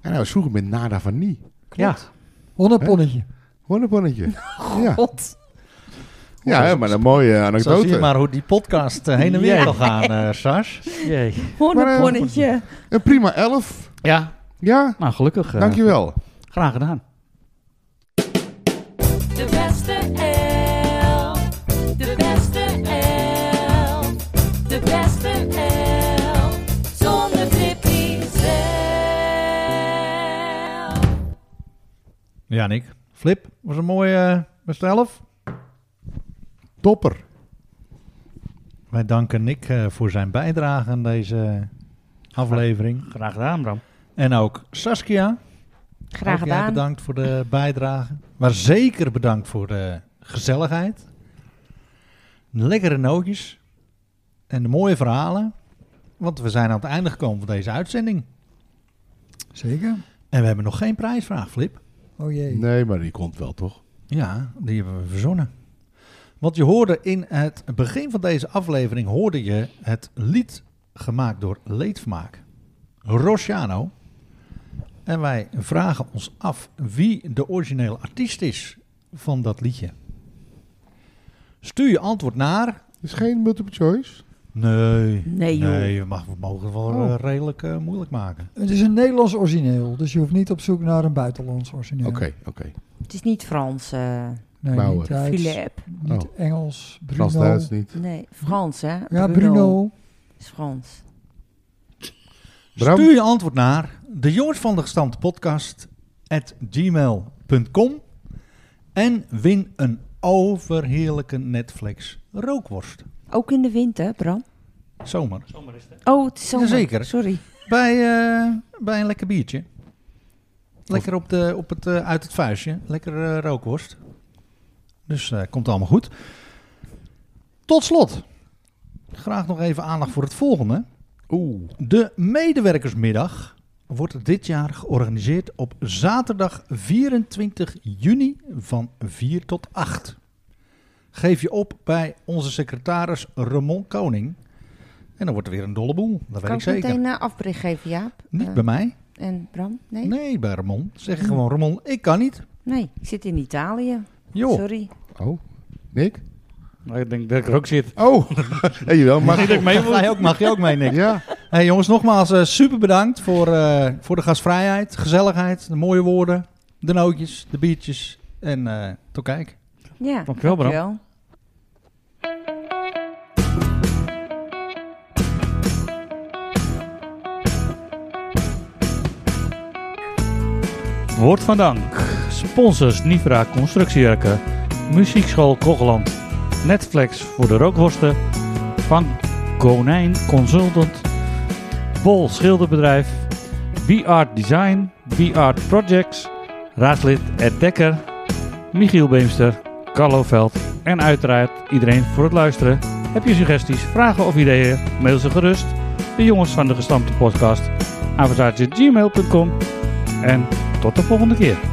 Speaker 4: hij was vroeger met Nada van Nie.
Speaker 3: Ja.
Speaker 5: Honneponnetje.
Speaker 4: Honneponnetje. ja,
Speaker 2: God.
Speaker 4: ja hè, maar een mooie
Speaker 1: Zo zie je
Speaker 4: anekdote.
Speaker 1: maar hoe die podcast eh, heen en weer
Speaker 3: Ja.
Speaker 1: kan gaan, eh, Sars.
Speaker 3: Jee.
Speaker 2: Honneponnetje.
Speaker 4: Een prima elf.
Speaker 3: Ja.
Speaker 4: Ja,
Speaker 3: Nou, gelukkig. eh,
Speaker 4: dankjewel.
Speaker 3: Graag gedaan.
Speaker 7: De beste elf. De beste elf. De beste elf. Zonder Tippy zelf.
Speaker 1: Ja, Nick. Flip, was een mooie best elf.
Speaker 4: Topper.
Speaker 1: Wij danken Nick eh, voor zijn bijdrage aan deze aflevering.
Speaker 3: Graag gedaan, Bram.
Speaker 1: En ook Saskia.
Speaker 2: Graag
Speaker 1: Ook jij
Speaker 2: gedaan.
Speaker 1: bedankt voor de bijdrage. Maar zeker bedankt voor de gezelligheid. Lekkere nootjes. En de mooie verhalen. Want we zijn aan het einde gekomen van deze uitzending.
Speaker 5: Zeker.
Speaker 1: En we hebben nog geen prijsvraag, Flip.
Speaker 5: Oh jee.
Speaker 4: Nee, maar die komt wel, toch?
Speaker 1: Ja, die hebben we verzonnen. Want je hoorde in het begin van deze aflevering hoorde je het lied gemaakt door Leedvermaak, Rosciano. En wij vragen ons af wie de originele artiest is van dat liedje. Stuur je antwoord naar.
Speaker 4: is geen multiple choice.
Speaker 1: Nee.
Speaker 2: Nee, joh.
Speaker 1: Nee, we, mag, we mogen het wel
Speaker 4: Oh.
Speaker 1: eh, redelijk eh, moeilijk maken.
Speaker 5: Het is een Nederlands origineel. Dus je hoeft niet op zoek naar een buitenlands origineel.
Speaker 4: Oké, oké.
Speaker 2: Het is niet Frans, eh
Speaker 5: Nee,
Speaker 4: Bauer.
Speaker 5: niet Duits,
Speaker 2: Philippe.
Speaker 5: niet Engels. Bruno.
Speaker 4: Frans-Duits niet.
Speaker 2: Nee, Frans, hè?
Speaker 5: Ja, Bruno.
Speaker 2: is Frans.
Speaker 4: Bram?
Speaker 1: Stuur je antwoord naar de jongens van de gestampte podcast at gmail Netflix.com en win een overheerlijke Netflix rookworst.
Speaker 2: Ook in de winter, Bram.
Speaker 1: Zomer.
Speaker 2: Oh, het is zomer.
Speaker 1: Jazeker.
Speaker 2: Sorry.
Speaker 1: Bij, eh, bij een lekker biertje. Lekker op de, op het, eh, uit het vuistje. Lekker eh, rookworst. Dus eh, komt allemaal goed. Tot slot. Graag nog even aandacht voor het volgende. Oeh. De medewerkersmiddag wordt dit jaar georganiseerd op zaterdag 24 juni van 4 tot 8. Geef je op bij onze secretaris Ramon Koning. En dan wordt er weer een dolle boel. Dat weet
Speaker 8: Kan
Speaker 1: ik
Speaker 8: ik
Speaker 1: zeker.
Speaker 8: meteen eh afbericht geven, Jaap?
Speaker 1: Niet
Speaker 8: Eh,
Speaker 1: bij mij.
Speaker 8: En Bram? Nee? nee?
Speaker 1: Nee, bij Ramon. Zeg gewoon, Ramon, ik kan niet.
Speaker 2: Ik zit in Italië.
Speaker 1: Joh,
Speaker 2: Sorry.
Speaker 4: Oh, Nick?
Speaker 3: Maar Nou, ik denk dat ik er ook zit.
Speaker 4: Oh, hey, jawel, maar...
Speaker 1: mag je ook, mag je ook mee, Nick.
Speaker 4: Ja,
Speaker 1: Hey, jongens, nogmaals eh, super bedankt voor, eh, voor de gastvrijheid, gezelligheid, de mooie woorden, de nootjes, de biertjes en eh tot kijk.
Speaker 2: Ja.
Speaker 3: Dankjewel, Bram.
Speaker 2: Dankjewel.
Speaker 3: Woord van dank. Sponsors Nivra Constructiewerken. Muziekschool Kogeland. Netflix voor de rookworsten. Van Konijn Consultant. Bol Schilderbedrijf. B-Art Design. B-Art Projects. Raadslid Ed Dekker. Michiel Beemster. Carlo Veld. En uiteraard iedereen voor het luisteren. Heb je suggesties, vragen of ideeën? Mail ze gerust. De jongens van de gestampte podcast. Aversaatje gmail.com. En tot de volgende keer.